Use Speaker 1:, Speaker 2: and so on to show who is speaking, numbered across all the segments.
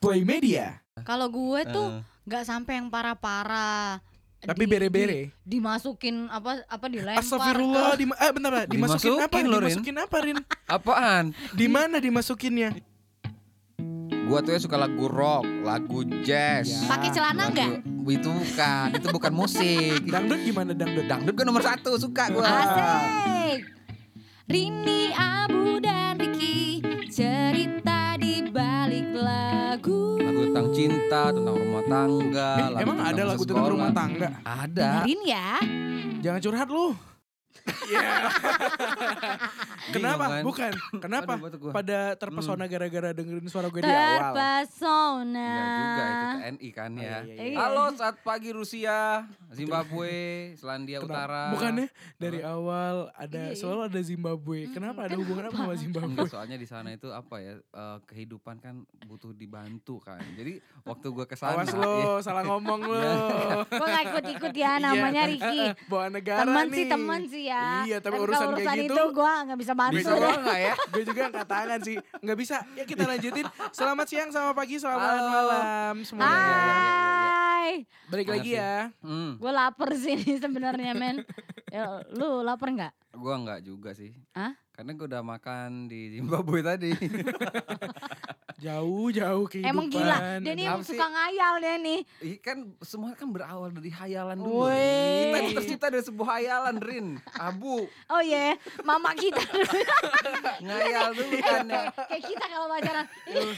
Speaker 1: Boy Media.
Speaker 2: Kalau gue tuh
Speaker 3: Eh,
Speaker 2: nggak sampai yang parah-parah.
Speaker 1: Tapi
Speaker 2: Di- di-
Speaker 1: bere-bere.
Speaker 2: dimasukin apa apa dilempar.
Speaker 1: Astagfirullah,
Speaker 2: ke-
Speaker 1: di eh bentar, bentar. dimasukin, apa?
Speaker 3: Dimasukin lo, Rin.
Speaker 1: dimasukin apa, Rin?
Speaker 3: apaan?
Speaker 1: Di mana dimasukinnya?
Speaker 3: Gua tuh ya suka lagu rock, lagu jazz.
Speaker 1: Ya.
Speaker 2: Pakai celana
Speaker 3: Lagu-
Speaker 2: Iya. nggak?
Speaker 3: Itu bukan, itu bukan musik.
Speaker 1: Dangdut gimana dangdut?
Speaker 3: Dangdut gue nomor satu suka gue.
Speaker 1: Ah.
Speaker 2: Asik. Rini, Abu dan Riki cerita di balik lagu.
Speaker 3: Lagu tentang cinta, tentang rumah tangga.
Speaker 1: Eh,
Speaker 3: lagu
Speaker 1: emang
Speaker 3: tentang
Speaker 1: ada lagu
Speaker 3: sekolah.
Speaker 1: tentang rumah tangga?
Speaker 3: Ada.
Speaker 2: Dengerin ya.
Speaker 1: Jangan curhat lu. Iya.
Speaker 3: Bingung
Speaker 1: Kenapa?
Speaker 3: kan?
Speaker 1: Bukan. Kenapa?
Speaker 3: Aduh, batuk gua.
Speaker 1: Pada terpesona gara-gara dengerin suara gue di awal.
Speaker 2: Terpesona.
Speaker 3: Enggak juga itu TNI kan ya.
Speaker 1: Oh, iya,
Speaker 2: iya.
Speaker 3: Halo saat pagi Rusia, Zimbabwe, Selandia
Speaker 1: Kenapa? ya?
Speaker 3: Utara.
Speaker 1: Bukannya dari awal ada
Speaker 2: Iya, Hmm, iya.
Speaker 1: selalu ada Zimbabwe. Kenapa ada hubungan apa sama Zimbabwe?
Speaker 3: Enggak, soalnya di sana itu apa ya eh, kehidupan kan butuh dibantu kan. Jadi waktu gue kesana,
Speaker 1: Awas
Speaker 3: ya,
Speaker 1: lo, salah ngomong lo.
Speaker 2: Gue gak ikut-ikut ya namanya
Speaker 1: Iya,
Speaker 2: Riki.
Speaker 1: eh, eh, Bawa negara
Speaker 2: Temen
Speaker 1: nih.
Speaker 2: sih temen sih ya.
Speaker 1: Iya, tapi
Speaker 2: kalau
Speaker 1: urusan kayak gitu-
Speaker 2: itu gue gak bisa bantu.
Speaker 1: Bisa.
Speaker 3: bisa lo nggak ya?
Speaker 1: Gue juga angkat tangan sih. Nggak bisa. Ya kita lanjutin. Selamat siang, selamat pagi, selamat
Speaker 3: Halo.
Speaker 1: malam Ah. semuanya. iya,
Speaker 2: Hai.
Speaker 1: Balik lagi ya.
Speaker 3: Hmm,
Speaker 2: Gue lapar sih ini sebenarnya men. Ya, lu lapar nggak?
Speaker 3: gue nggak juga sih.
Speaker 2: Hah?
Speaker 3: Karena gue udah makan di Zimbabwe tadi.
Speaker 1: Jauh-jauh kehidupan.
Speaker 2: Emang gila. Dia nih
Speaker 3: Apa sih?
Speaker 2: suka ngayal dia nih.
Speaker 3: Iya kan semua kan berawal dari hayalan dulu.
Speaker 2: Woi.
Speaker 3: Rin. Kita ini tercipta dari sebuah hayalan, Rin. Abu,
Speaker 2: Oh iya, mama kita dulu.
Speaker 3: ngayal dulu
Speaker 1: Iya,
Speaker 3: kan ya.
Speaker 2: kayak kita kalau pacaran.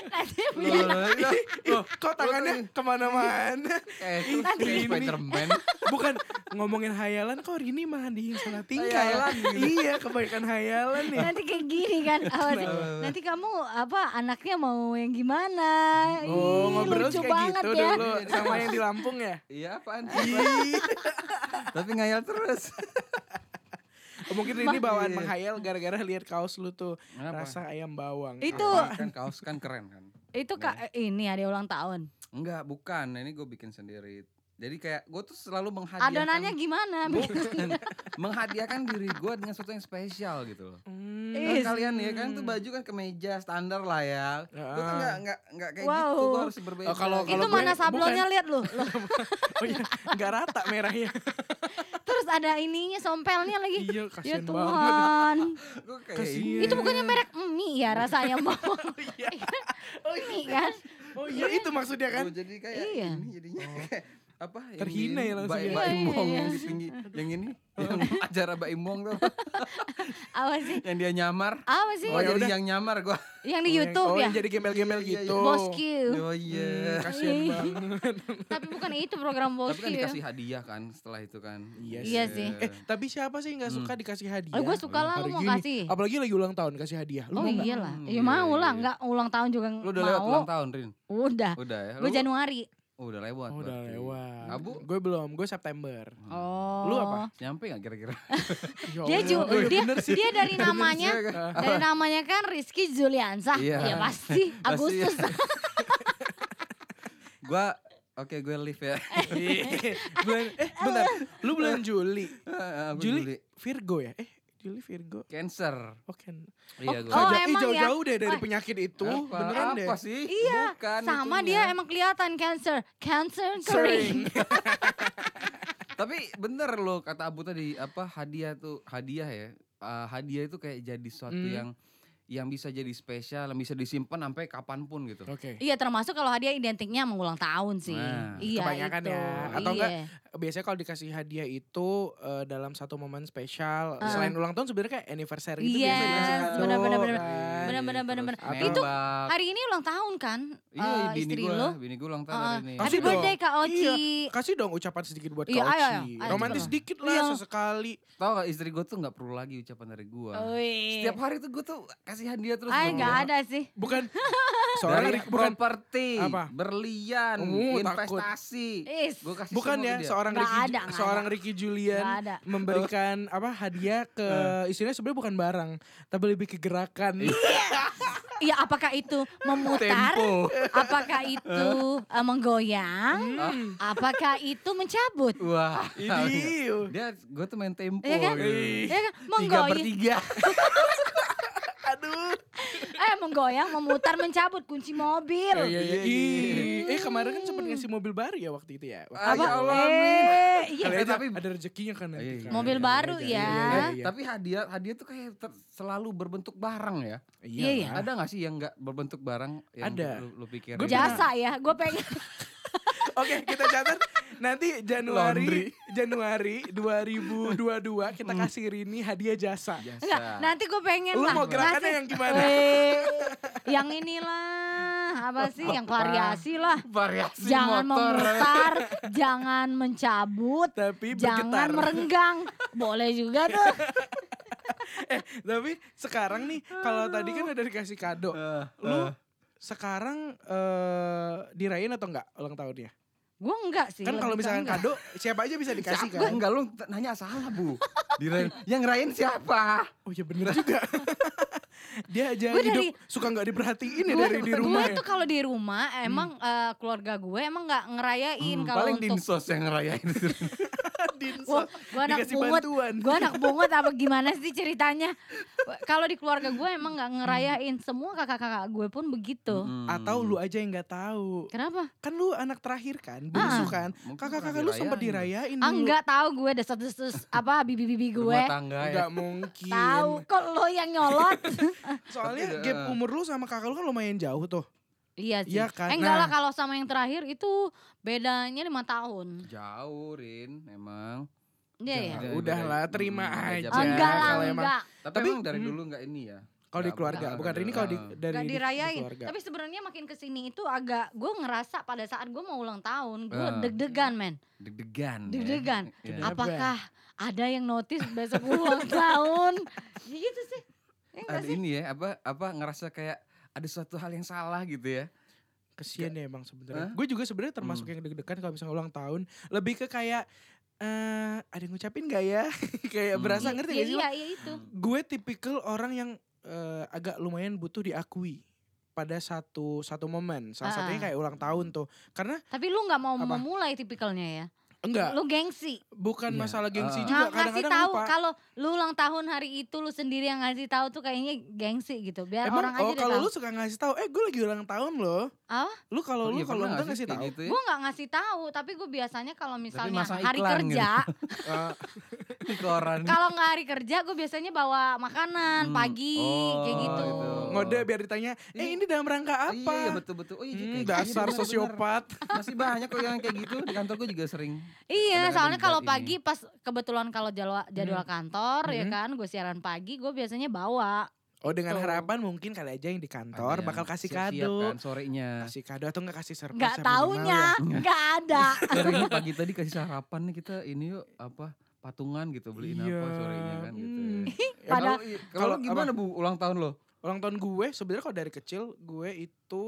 Speaker 2: Nanti punya
Speaker 3: Loh, loh, loh. Oh,
Speaker 1: Ih, Oh, kok tangannya kemana-mana?
Speaker 3: Eh, itu
Speaker 1: Nanti
Speaker 3: kayak
Speaker 1: ini.
Speaker 3: Spiderman.
Speaker 1: Bukan ngomongin hayalan kok Rini malah disalah tingkah. ya?
Speaker 3: Hayalan gitu.
Speaker 1: iya, kebaikan hayalan ya. nih.
Speaker 2: nanti kayak gini kan awas. nanti kamu apa anaknya mau yang gimana
Speaker 1: Oh,
Speaker 2: Ih,
Speaker 1: ngobrol
Speaker 2: lucu
Speaker 1: kayak
Speaker 2: banget
Speaker 1: gitu
Speaker 2: ya
Speaker 1: dulu sama yang di Lampung ya.
Speaker 3: Iya apaan sih?
Speaker 1: Ih,
Speaker 3: Tapi ngayal terus.
Speaker 1: Mungkin Rini bawaan menghayal gara-gara lihat kaos lu tuh
Speaker 3: Iya, Kenapa?
Speaker 1: rasa ayam bawang.
Speaker 2: Itu.
Speaker 3: Apaan? kan kaos kan keren kan.
Speaker 2: itu
Speaker 1: Iya.
Speaker 2: kak eh, ini ada ulang tahun
Speaker 3: Enggak, bukan. Ini gue bikin sendiri. Jadi kayak gue tuh selalu menghadiahkan
Speaker 1: kan?
Speaker 2: adonannya gimana
Speaker 3: Bukan. menghadiahkan diri gue dengan sesuatu yang spesial gitu loh.
Speaker 1: Hmm.
Speaker 2: Is.
Speaker 3: Kan kalian ya kan tuh baju kan kemeja standar lah ya. Gue tuh
Speaker 1: Ah.
Speaker 3: nggak nggak nggak kayak
Speaker 2: Wow.
Speaker 3: gitu. Gue harus berbeda.
Speaker 1: Oh, kalau-
Speaker 2: itu
Speaker 1: kalau gue-
Speaker 2: mana sablonnya lihat lu Loh,
Speaker 1: Oh iya, nggak rata merahnya.
Speaker 2: terus ada ininya sompelnya lagi
Speaker 1: Iya,
Speaker 2: ya
Speaker 1: kasihan banget.
Speaker 2: Tuhan
Speaker 3: gue kayak
Speaker 1: Kasihan.
Speaker 2: itu bukannya
Speaker 3: Hmm.
Speaker 2: merek mie ya rasanya
Speaker 3: Oh,
Speaker 2: mau
Speaker 3: iya.
Speaker 2: mie kan
Speaker 1: Oh iya, itu maksudnya kan. Oh.
Speaker 3: Oh, jadi kayak
Speaker 2: Iya.
Speaker 3: ini jadinya kayak apa yang
Speaker 1: Terhina
Speaker 3: di-
Speaker 1: ya langsung
Speaker 3: Mbak-
Speaker 1: ya. Oh.
Speaker 3: Mbak
Speaker 2: Iya, iya,
Speaker 3: Imong yang
Speaker 2: iya.
Speaker 3: di tinggi yang ini yang acara Mbak Imong tuh
Speaker 2: apa sih
Speaker 3: yang dia nyamar
Speaker 2: apa sih
Speaker 3: oh,
Speaker 1: ya
Speaker 3: jadi
Speaker 1: udah.
Speaker 3: yang nyamar gua
Speaker 2: yang di YouTube
Speaker 1: oh,
Speaker 2: ya
Speaker 1: yang jadi gembel-gembel
Speaker 3: Iya, iya,
Speaker 1: gitu.
Speaker 3: iya.
Speaker 2: Bosku
Speaker 3: oh iya
Speaker 1: Kasihan
Speaker 2: Iya.
Speaker 1: banget.
Speaker 2: tapi bukan itu program
Speaker 3: tapi
Speaker 2: Bosku
Speaker 3: kan dikasih hadiah kan setelah itu kan
Speaker 1: Iya
Speaker 2: Oh, Iya sih. sih.
Speaker 1: Eh, tapi siapa sih nggak
Speaker 3: Hmm.
Speaker 1: suka dikasih hadiah?
Speaker 2: Oh, gue
Speaker 3: ya,
Speaker 2: suka lah lu
Speaker 1: Hari
Speaker 2: mau
Speaker 1: gini.
Speaker 2: kasih.
Speaker 1: Apalagi lagi ulang tahun kasih hadiah. Lu
Speaker 2: Oh
Speaker 1: mau nggak?
Speaker 2: iya lah,
Speaker 3: Hmm,
Speaker 2: ya
Speaker 3: iya,
Speaker 2: mau
Speaker 3: iya,
Speaker 2: lah,
Speaker 3: iya.
Speaker 2: nggak ulang tahun juga
Speaker 3: lu udah
Speaker 2: mau.
Speaker 3: lewat ulang tahun Rin
Speaker 2: Udah,
Speaker 3: udah ya
Speaker 2: gue Januari.
Speaker 3: oh, udah lewat
Speaker 1: Oh, udah
Speaker 3: berarti.
Speaker 1: lewat.
Speaker 3: Abu?
Speaker 1: Gue belum, gue September.
Speaker 3: Hmm.
Speaker 2: Oh.
Speaker 1: Lu apa?
Speaker 3: nyampe nggak kira-kira
Speaker 1: Ya
Speaker 2: Dia
Speaker 1: Allah. Eh,
Speaker 2: ju-
Speaker 1: Oh, iya,
Speaker 2: dia,
Speaker 1: bener sih.
Speaker 2: dia dari namanya
Speaker 3: Iya,
Speaker 2: dari namanya kan Rizky Juliansah.
Speaker 3: Iya.
Speaker 2: Ya pasti Agustus.
Speaker 3: gue oke gue leave ya
Speaker 1: bulan, eh bentar, lu bulan Juli.
Speaker 3: Aku
Speaker 1: Juli, Virgo ya? Eh, Juli Virgo.
Speaker 3: cancer
Speaker 1: Oke.
Speaker 3: iya
Speaker 1: Kok
Speaker 2: Oh,
Speaker 3: gue
Speaker 1: ja- ih,
Speaker 2: emang ya?
Speaker 1: jauh-jauh deh dari
Speaker 2: Oh.
Speaker 1: penyakit itu.
Speaker 3: apa,
Speaker 1: Beneran deh.
Speaker 3: apa sih
Speaker 2: Iya,
Speaker 3: Bukan
Speaker 2: Sama
Speaker 3: Kan itunya.
Speaker 2: dia emang kelihatan Cancer, Cancer
Speaker 1: Sering.
Speaker 2: kering.
Speaker 3: Tapi bener loh kata Abu tadi apa hadiah tuh hadiah ya eh, hadiah itu kayak jadi sesuatu
Speaker 1: Hmm.
Speaker 3: yang yang bisa jadi spesial, yang bisa disimpan sampai kapanpun gitu.
Speaker 1: Oke.
Speaker 2: Iya termasuk kalau hadiah identiknya sama ulang tahun sih.
Speaker 3: Nah,
Speaker 2: iya
Speaker 1: kebanyakan
Speaker 2: itu.
Speaker 1: ya. Atau
Speaker 2: iya.
Speaker 1: enggak, Biasanya kalau dikasih hadiah itu eh, dalam satu momen spesial.
Speaker 2: Ah.
Speaker 1: Selain ulang tahun sebenarnya kayak anniversary itu
Speaker 2: Yes,
Speaker 1: biasanya dikasih kado.
Speaker 2: benar-benar, benar-benar.
Speaker 3: Iya,
Speaker 1: kan.
Speaker 2: Bener-bener, bener-bener.
Speaker 3: Itu
Speaker 2: Itu Hari ini ulang tahun kan?
Speaker 3: uh, iya,
Speaker 2: eh,
Speaker 3: bini
Speaker 2: istri
Speaker 3: gua,
Speaker 2: lu.
Speaker 3: bini gua ulang tahun
Speaker 2: Heeh.
Speaker 3: hari ini.
Speaker 1: Kasih
Speaker 2: Happy
Speaker 1: dong.
Speaker 2: birthday Kak Oci.
Speaker 1: Iya, kasih dong ucapan sedikit buat
Speaker 2: Iya,
Speaker 1: Kau
Speaker 2: ayo,
Speaker 1: Ci.
Speaker 2: ayo, ayo,
Speaker 1: Romantis
Speaker 2: coba.
Speaker 1: dikit lah
Speaker 2: Iya.
Speaker 1: sesekali.
Speaker 3: Tau gak istri gua tuh nggak perlu lagi ucapan dari gua.
Speaker 2: Wih.
Speaker 3: Setiap hari tuh gua tuh kasih hadiah terus.
Speaker 2: Oh, iya. Ay,
Speaker 3: buat
Speaker 2: nggak
Speaker 3: gua.
Speaker 2: ada sih.
Speaker 1: Bukan.
Speaker 3: Dari
Speaker 1: Soalnya bukan
Speaker 3: properti,
Speaker 1: Apa?
Speaker 3: berlian,
Speaker 1: Oh, takut.
Speaker 3: investasi.
Speaker 2: Is.
Speaker 3: Gua kasih
Speaker 1: bukan
Speaker 3: semua
Speaker 1: ya
Speaker 3: ke dia.
Speaker 1: seorang
Speaker 2: Nggak
Speaker 1: Ricky Ju-
Speaker 2: ada, nggak
Speaker 1: seorang
Speaker 2: ada.
Speaker 1: Ricky Julian
Speaker 2: Nggak ada.
Speaker 1: memberikan apa hadiah ke istrinya sebenarnya bukan barang tapi lebih ke gerakan.
Speaker 2: Iya, apakah itu memutar?
Speaker 3: Tempo.
Speaker 2: Apakah itu eh, menggoyang? Apakah itu mencabut?
Speaker 3: Wah. iya.
Speaker 1: Ini
Speaker 3: Dia gue tuh main tempo
Speaker 2: Iya kan?
Speaker 3: gitu.
Speaker 2: Ya kan?
Speaker 3: Tiga per
Speaker 2: Menggoyang.
Speaker 3: tiga.
Speaker 1: Aduh.
Speaker 2: Eh menggoyang, memutar, mencabut kunci mobil.
Speaker 1: Iya, iya, iya.
Speaker 3: Iya, iya,
Speaker 1: Ih, Eh kemarin kan sempat ngasih mobil baru ya waktu itu ya. Waktu
Speaker 3: Ah,
Speaker 2: Apa?
Speaker 3: ya Allah,
Speaker 2: eh, iya.
Speaker 1: Kali
Speaker 3: Eh,
Speaker 1: aja
Speaker 3: tapi-
Speaker 1: ada rezekinya kan nanti.
Speaker 3: Iya, iya.
Speaker 1: kan.
Speaker 2: Mobil
Speaker 1: Iya,
Speaker 2: baru
Speaker 1: iya,
Speaker 2: ya.
Speaker 1: iya, iya, iya.
Speaker 3: Tapi hadiah hadiah tuh kayak ter- selalu berbentuk barang ya.
Speaker 2: Iya,
Speaker 1: Iya.
Speaker 2: iya.
Speaker 1: lah.
Speaker 3: Ada nggak sih yang nggak berbentuk barang yang
Speaker 1: Ada.
Speaker 3: lu, lu pikirin?
Speaker 1: Gua
Speaker 2: Jasa ya, gue pengen.
Speaker 1: Oke, kita catat nanti
Speaker 3: Laundry.
Speaker 1: Januari Januari 2022 kita kasih Rini hadiah jasa.
Speaker 3: Jasa.
Speaker 2: Enggak, nanti gue pengen
Speaker 1: Lu
Speaker 2: lah.
Speaker 1: mau gerakannya
Speaker 2: ngasih-
Speaker 1: yang gimana?
Speaker 2: Weh, yang inilah apa sih yang variasi lah.
Speaker 3: variasi
Speaker 2: Jangan
Speaker 3: motor.
Speaker 2: memutar, jangan mencabut,
Speaker 1: Tapi
Speaker 2: jangan
Speaker 1: bergetar.
Speaker 2: merenggang. Boleh juga tuh.
Speaker 1: Tapi sekarang nih kalau tadi kan udah dikasih kado.
Speaker 3: Eh,
Speaker 1: Lu sekarang eh dirayain atau enggak ulang tahunnya?
Speaker 2: Gue enggak sih.
Speaker 1: Kan
Speaker 2: gua
Speaker 1: kalau
Speaker 2: enggak-
Speaker 1: misalkan
Speaker 2: enggak.
Speaker 1: kado siapa aja bisa dikasih
Speaker 3: siapa?
Speaker 1: kan?
Speaker 3: Enggak lu t- nanya salah bu. Dirayain. yang ngerayain siapa?
Speaker 1: Oh iya bener juga. Dia aja
Speaker 2: Gua
Speaker 1: hidup
Speaker 2: dari-
Speaker 1: suka nggak diperhatiin ya Hmm.
Speaker 2: Gua-
Speaker 1: dari di rumah.
Speaker 2: Gue tuh kalau di rumah emang eh, keluarga gue emang nggak ngerayain
Speaker 3: Hmm,
Speaker 2: kalau
Speaker 3: paling
Speaker 2: untuk
Speaker 3: dinsos yang ngerayain.
Speaker 2: Wah, gue anak
Speaker 1: dikasih
Speaker 2: pungut,
Speaker 1: bantuan.
Speaker 2: gue anak pungut apa gimana sih ceritanya? Kalau di keluarga gue emang nggak
Speaker 1: Hmm.
Speaker 2: ngerayain semua kakak-kakak gue pun begitu.
Speaker 3: Hmm.
Speaker 1: Atau lu aja yang nggak tahu.
Speaker 2: Kenapa?
Speaker 1: Kan lu anak terakhir kan, bungsu
Speaker 2: Ah.
Speaker 1: kan. Kakak-kakak lu sempat dirayain
Speaker 2: Ah,
Speaker 1: dulu.
Speaker 2: nggak tahu gue ada status apa bibi-bibi gue.
Speaker 3: Rumah tangga ya.
Speaker 1: Nggak mungkin.
Speaker 2: Tahu kok lo yang nyolot.
Speaker 1: Soalnya
Speaker 3: Tapi,
Speaker 1: gap
Speaker 3: eh,
Speaker 1: umur lu sama kakak lu kan lumayan jauh tuh.
Speaker 2: iya sih.
Speaker 1: Iya kan,
Speaker 2: Eh enggak
Speaker 1: nah.
Speaker 2: lah kalau sama yang terakhir itu bedanya lima tahun.
Speaker 3: Jauh Rin, emang.
Speaker 2: Iya ya.
Speaker 1: Ya, udahlah, terima
Speaker 3: Hmm,
Speaker 1: aja.
Speaker 2: Oh,
Speaker 3: udah jauh.
Speaker 2: enggak lah,
Speaker 1: kalau emang-
Speaker 2: enggak.
Speaker 3: Tapi,
Speaker 1: Tapi-
Speaker 3: emang dari
Speaker 1: hmm.
Speaker 3: dulu nggak ini ya.
Speaker 1: Kalau di
Speaker 3: Nggak,
Speaker 1: keluarga,
Speaker 3: bukan.
Speaker 1: bukan ini kalau di
Speaker 3: Ah.
Speaker 1: dari
Speaker 2: Gak
Speaker 1: di- di
Speaker 2: dirayain.
Speaker 1: keluarga.
Speaker 2: Tapi sebenarnya makin kesini itu agak gue ngerasa pada saat gue mau ulang tahun
Speaker 1: Eh.
Speaker 2: gue
Speaker 3: Ah.
Speaker 2: deg-degan men.
Speaker 1: Iya,
Speaker 3: Deg-degan. ya.
Speaker 2: Deg-degan.
Speaker 3: Ya.
Speaker 1: Kenapa?
Speaker 2: Apakah ada yang notice besok ulang tahun? Gitu sih. Ya enggak
Speaker 3: Ada
Speaker 2: sih?
Speaker 3: ini ya, apa apa ngerasa kayak ada suatu hal yang salah gitu ya.
Speaker 1: Kesian ya emang sebenarnya.
Speaker 3: Hah?
Speaker 1: Gue juga sebenarnya termasuk
Speaker 3: Hmm.
Speaker 1: yang deg-degan kalau misalnya ulang tahun, lebih ke kayak eh ada yang ngucapin gak ya? kayak
Speaker 3: Hmm.
Speaker 1: berasa
Speaker 2: Iya,
Speaker 1: ngerti
Speaker 2: iya,
Speaker 1: gak sih? lo?
Speaker 2: Iya, iya itu.
Speaker 1: Gue tipikal orang yang eh, agak lumayan butuh diakui pada satu satu momen. Salah
Speaker 2: Ah.
Speaker 1: satunya kayak ulang tahun tuh. Karena
Speaker 2: Tapi lu nggak mau
Speaker 1: Apa?
Speaker 2: memulai tipikalnya ya.
Speaker 1: enggak
Speaker 2: Lu gengsi.
Speaker 1: bukan
Speaker 3: Iya.
Speaker 1: masalah gengsi
Speaker 3: Ah.
Speaker 1: juga
Speaker 2: Nggak ngasih
Speaker 1: kadang-kadang
Speaker 2: tahu kan?
Speaker 1: lupa.
Speaker 2: kalau lu ulang tahun hari itu lu sendiri yang ngasih tahu tuh kayaknya gengsi gitu. Biar
Speaker 1: Emang
Speaker 2: orang aja
Speaker 1: oh
Speaker 2: deh
Speaker 1: kalau
Speaker 2: tahu. Ah?
Speaker 1: lu suka ngasih tahu, eh gue lagi ulang tahun loh.
Speaker 2: Apa?
Speaker 1: Lu kalau lu
Speaker 3: Iya,
Speaker 1: kalau
Speaker 3: pernah
Speaker 1: enggak
Speaker 3: nggak
Speaker 1: ngasih
Speaker 3: sih kayak
Speaker 1: tahu.
Speaker 3: gitu ya?
Speaker 2: Gue nggak ngasih tahu, tapi gue biasanya kalau misalnya
Speaker 3: masang
Speaker 2: hari
Speaker 3: iklan gitu.
Speaker 2: kerja,
Speaker 1: Eh,
Speaker 3: Di koran.
Speaker 2: kalau nggak hari kerja gue biasanya bawa makanan
Speaker 3: Hmm.
Speaker 2: pagi kayak
Speaker 3: Oh,
Speaker 2: gitu. Iya.
Speaker 3: gitu.
Speaker 1: ngode biar ditanya, "Eh ini dalam rangka apa?"
Speaker 3: Iya betul-betul. Oh iya
Speaker 1: Hmm,
Speaker 3: kayak gitu.
Speaker 1: dasar
Speaker 3: Bener-bener.
Speaker 1: sosiopat.
Speaker 3: Masih banyak kok yang kayak gitu di kantor gue juga sering.
Speaker 2: Iya,
Speaker 3: Kadang-kadang
Speaker 2: soalnya
Speaker 3: dibuat
Speaker 2: kalau
Speaker 3: ini.
Speaker 2: pagi pas kebetulan kalau jadwal jadwal kantor ya
Speaker 1: Mhm.
Speaker 2: kan, gue siaran pagi, gue biasanya bawa.
Speaker 1: Oh dengan
Speaker 2: Tuh.
Speaker 1: harapan mungkin kali aja yang di kantor
Speaker 3: Ada yang
Speaker 1: bakal kasih
Speaker 3: siap-siap
Speaker 1: kado.
Speaker 3: kan sorenya.
Speaker 1: Kasih kado atau enggak kasih surprise.
Speaker 2: Gak
Speaker 1: ya
Speaker 2: taunya,
Speaker 1: minimal ya.
Speaker 2: gak ada.
Speaker 3: Hari ini pagi tadi kasih sarapan nih kita ini yuk apa patungan gitu beliin
Speaker 1: Iya.
Speaker 3: apa sorenya kan gitu.
Speaker 1: Hmm.
Speaker 2: Pada-
Speaker 3: Ya, kalau- kalau
Speaker 1: Kalau-
Speaker 3: gimana Bu ulang tahun lo?
Speaker 1: Ulang tahun gue sebenarnya kalau dari kecil gue itu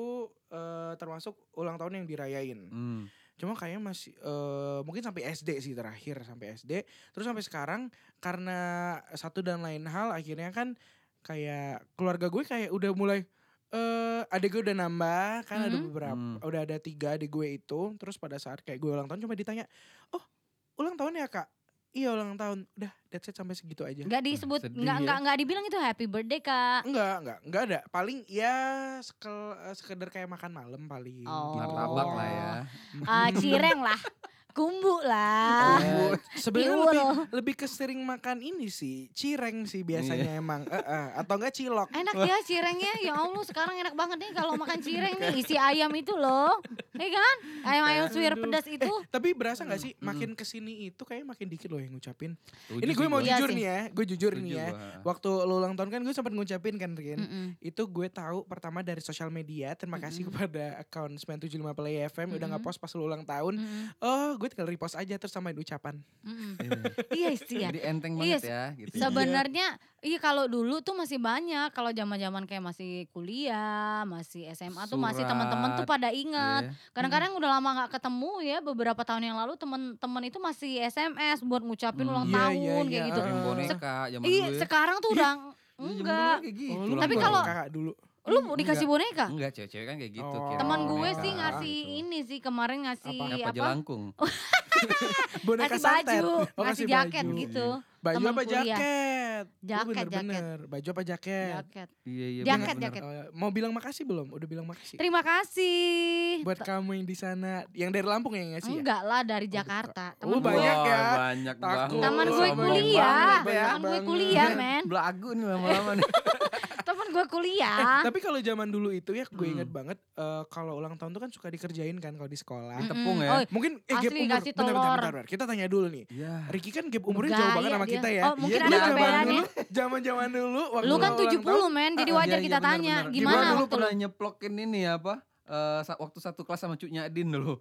Speaker 1: eh, termasuk ulang tahun yang dirayain.
Speaker 3: Hmm.
Speaker 1: Cuma kayaknya masih eh, mungkin sampai SD sih terakhir sampai SD. Terus sampai sekarang karena satu dan lain hal akhirnya kan kayak keluarga gue kayak udah mulai eh adik gue udah nambah kan ada
Speaker 2: Mhm.
Speaker 1: beberapa
Speaker 3: Hmm.
Speaker 1: udah ada tiga adik gue itu terus pada saat kayak gue ulang tahun cuma ditanya oh ulang tahun ya kak iya ulang tahun udah that's it sampai segitu aja
Speaker 2: Gak disebut,
Speaker 3: sedih
Speaker 2: gak,
Speaker 3: ya.
Speaker 2: gak, gak dibilang itu happy birthday kak.
Speaker 1: enggak enggak enggak ada paling ya sekel- eh, sekedar kayak makan malam paling
Speaker 2: Oh.
Speaker 3: Martabak lah ya.
Speaker 2: Eh, cireng lah, kumbu lah.
Speaker 3: Iya.
Speaker 1: Oh, sebenarnya
Speaker 2: Tiwul.
Speaker 1: lebih lebih ke sering makan ini sih cireng sih biasanya
Speaker 3: Iya.
Speaker 1: emang Eh, eh. atau enggak cilok
Speaker 2: Enak ya cirengnya, ya Allah sekarang enak banget nih kalau makan cireng nih isi ayam itu loh. Iya kan? Ayam-ayam suwir
Speaker 1: Aduh.
Speaker 2: pedas itu.
Speaker 1: tapi berasa nggak sih
Speaker 3: Mm, mm.
Speaker 1: makin kesini itu kayak makin dikit loh yang ngucapin
Speaker 3: Setuju
Speaker 1: ini gue
Speaker 3: sih
Speaker 1: mau
Speaker 3: gua.
Speaker 2: Iya
Speaker 1: jujur
Speaker 2: sih.
Speaker 1: nih ya gue jujur
Speaker 3: Setuju
Speaker 1: nih ya
Speaker 3: gua.
Speaker 1: waktu lo ulang tahun kan gue sempat ngucapin kan Rin
Speaker 2: Mm-mm.
Speaker 1: itu gue tahu pertama dari sosial media terima kasih
Speaker 2: Mm-mm.
Speaker 1: kepada account 975 Play FM udah
Speaker 2: Mm-mm.
Speaker 1: nggak post pas lo ulang tahun
Speaker 2: Mm-mm.
Speaker 1: oh gue tinggal repost aja terus samain ucapan
Speaker 2: Mm-mm.
Speaker 3: Iya.
Speaker 2: Iya sih ya.
Speaker 3: Jadi enteng
Speaker 2: Iya,
Speaker 3: banget
Speaker 2: se-
Speaker 3: ya gitu.
Speaker 1: Iya. Saben-
Speaker 2: Sebenarnya iya kalau dulu tuh masih banyak kalau zaman-zaman kayak masih kuliah, masih SMA tuh masih teman-teman tuh
Speaker 3: Surat,
Speaker 2: pada ingat.
Speaker 3: Iya.
Speaker 2: Kadang-kadang udah lama nggak ketemu ya beberapa tahun yang lalu teman-teman itu masih SMS buat ngucapin
Speaker 3: Hmm.
Speaker 2: ulang
Speaker 1: Iya,
Speaker 2: tahun
Speaker 1: iya,
Speaker 2: kayak
Speaker 1: iya.
Speaker 2: gitu.
Speaker 3: Kirim
Speaker 1: Ah.
Speaker 3: boneka zaman
Speaker 2: Iya,
Speaker 3: dulu. ya.
Speaker 2: sekarang tuh
Speaker 1: Ih,
Speaker 2: udah
Speaker 3: Iya, zaman dulu ya. Iya.
Speaker 2: enggak.
Speaker 3: kayak gitu
Speaker 1: oh, lu
Speaker 3: ulang
Speaker 2: Tapi
Speaker 1: lupa
Speaker 3: tahun.
Speaker 2: kalau-
Speaker 1: kakak dulu
Speaker 2: Lu mau dikasih boneka?
Speaker 3: enggak cewek-cewek kan kayak gitu.
Speaker 1: Oh.
Speaker 3: kirim
Speaker 2: Teman gue
Speaker 3: boneka
Speaker 2: sih ngasih
Speaker 3: gitu.
Speaker 2: ini sih kemarin ngasih
Speaker 1: Apa?
Speaker 3: apa,
Speaker 2: apa? Oh,
Speaker 3: jelangkung.
Speaker 1: boneka
Speaker 2: Ngasih
Speaker 1: santet
Speaker 2: baju,
Speaker 1: Oh,
Speaker 2: ngasih
Speaker 1: kasih
Speaker 2: jaket
Speaker 1: baju.
Speaker 3: Iya.
Speaker 2: gitu.
Speaker 1: baju
Speaker 2: teman
Speaker 1: apa
Speaker 2: kuliah.
Speaker 1: jaket
Speaker 2: Jaket, jaket. Ya.
Speaker 1: bener-bener baju apa jaket.
Speaker 2: Jaket.
Speaker 3: Iya iya.
Speaker 2: Jaket,
Speaker 3: benar-benar.
Speaker 2: jaket.
Speaker 1: Eh, mau bilang makasih belum? Udah bilang makasih.
Speaker 2: Terima kasih.
Speaker 1: Buat kamu yang di sana, yang dari Lampung ya nggak sih? ya?
Speaker 2: Enggak lah dari
Speaker 1: bukan.
Speaker 2: Jakarta.
Speaker 1: Oh,
Speaker 2: Temen
Speaker 1: banyak
Speaker 3: Wah,
Speaker 1: ya.
Speaker 3: Banyak
Speaker 1: Takut.
Speaker 3: banget.
Speaker 2: Temen gue
Speaker 3: Sombong
Speaker 2: kuliah, Iya.
Speaker 1: banget ya,
Speaker 2: temen gue
Speaker 1: banget.
Speaker 2: kuliah men,
Speaker 3: banget. Belagu nih lama-lama nih.
Speaker 2: temen gue kuliah.
Speaker 1: Eh, Tapi kalau zaman dulu itu ya gue inget
Speaker 3: Hmm.
Speaker 1: banget eh, kalau ulang tahun tuh kan suka dikerjain kan kalau di sekolah.
Speaker 2: Mm-mm.
Speaker 3: tepung ya.
Speaker 2: Oh,
Speaker 1: Mungkin eh, gap
Speaker 2: Asli,
Speaker 1: umur.
Speaker 2: kasih
Speaker 1: Bentar, bentar,
Speaker 2: telur.
Speaker 1: bentar, bentar. Kita tanya dulu nih.
Speaker 3: Iya.
Speaker 1: Riki kan gap umurnya jauh
Speaker 2: Gaya
Speaker 1: banget sama
Speaker 2: dia.
Speaker 1: kita ya.
Speaker 2: Oh, mungkin
Speaker 1: Iya,
Speaker 2: ada
Speaker 1: dulu zaman
Speaker 2: kepedeannya.
Speaker 1: dulu- Zaman-zaman dulu waktu
Speaker 2: Lu kan
Speaker 1: ulang tahun,
Speaker 2: 70 men, jadi
Speaker 1: ah,
Speaker 2: wajar
Speaker 3: Iya,
Speaker 2: kita
Speaker 3: iya,
Speaker 2: tanya
Speaker 3: benar-benar.
Speaker 2: gimana
Speaker 3: Gua dulu
Speaker 2: waktu lu.
Speaker 3: pernah nyeplokin ini apa? Eh, sa- waktu satu kelas sama cucunya Adin dulu.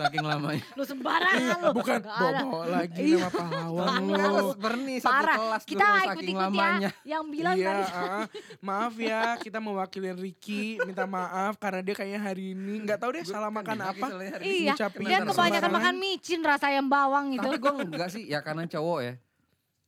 Speaker 3: Saking lamanya.
Speaker 2: Lu sembarangan lu.
Speaker 1: Ah, bukan
Speaker 2: Gak ada.
Speaker 1: bobo lagi
Speaker 2: Iya.
Speaker 1: nama pahlawan
Speaker 2: Parah.
Speaker 1: lu.
Speaker 3: Terus berni Kan satu
Speaker 2: Parah.
Speaker 3: kelas
Speaker 2: Kita
Speaker 3: dulu saking
Speaker 2: ikut-ikut ya
Speaker 3: lamanya.
Speaker 2: yang bilang
Speaker 1: iya,
Speaker 2: tadi.
Speaker 1: ah, maaf ya kita mewakili Riki minta maaf karena dia kayaknya hari ini nggak tahu deh salah
Speaker 3: kan
Speaker 1: makan apa.
Speaker 3: ya
Speaker 2: Iya,
Speaker 1: ngucapin
Speaker 2: dia
Speaker 1: secara
Speaker 2: kebanyakan
Speaker 1: sembarangan.
Speaker 2: makan micin rasa yang bawang gitu.
Speaker 3: Tapi gue enggak sih, ya karena cowok ya.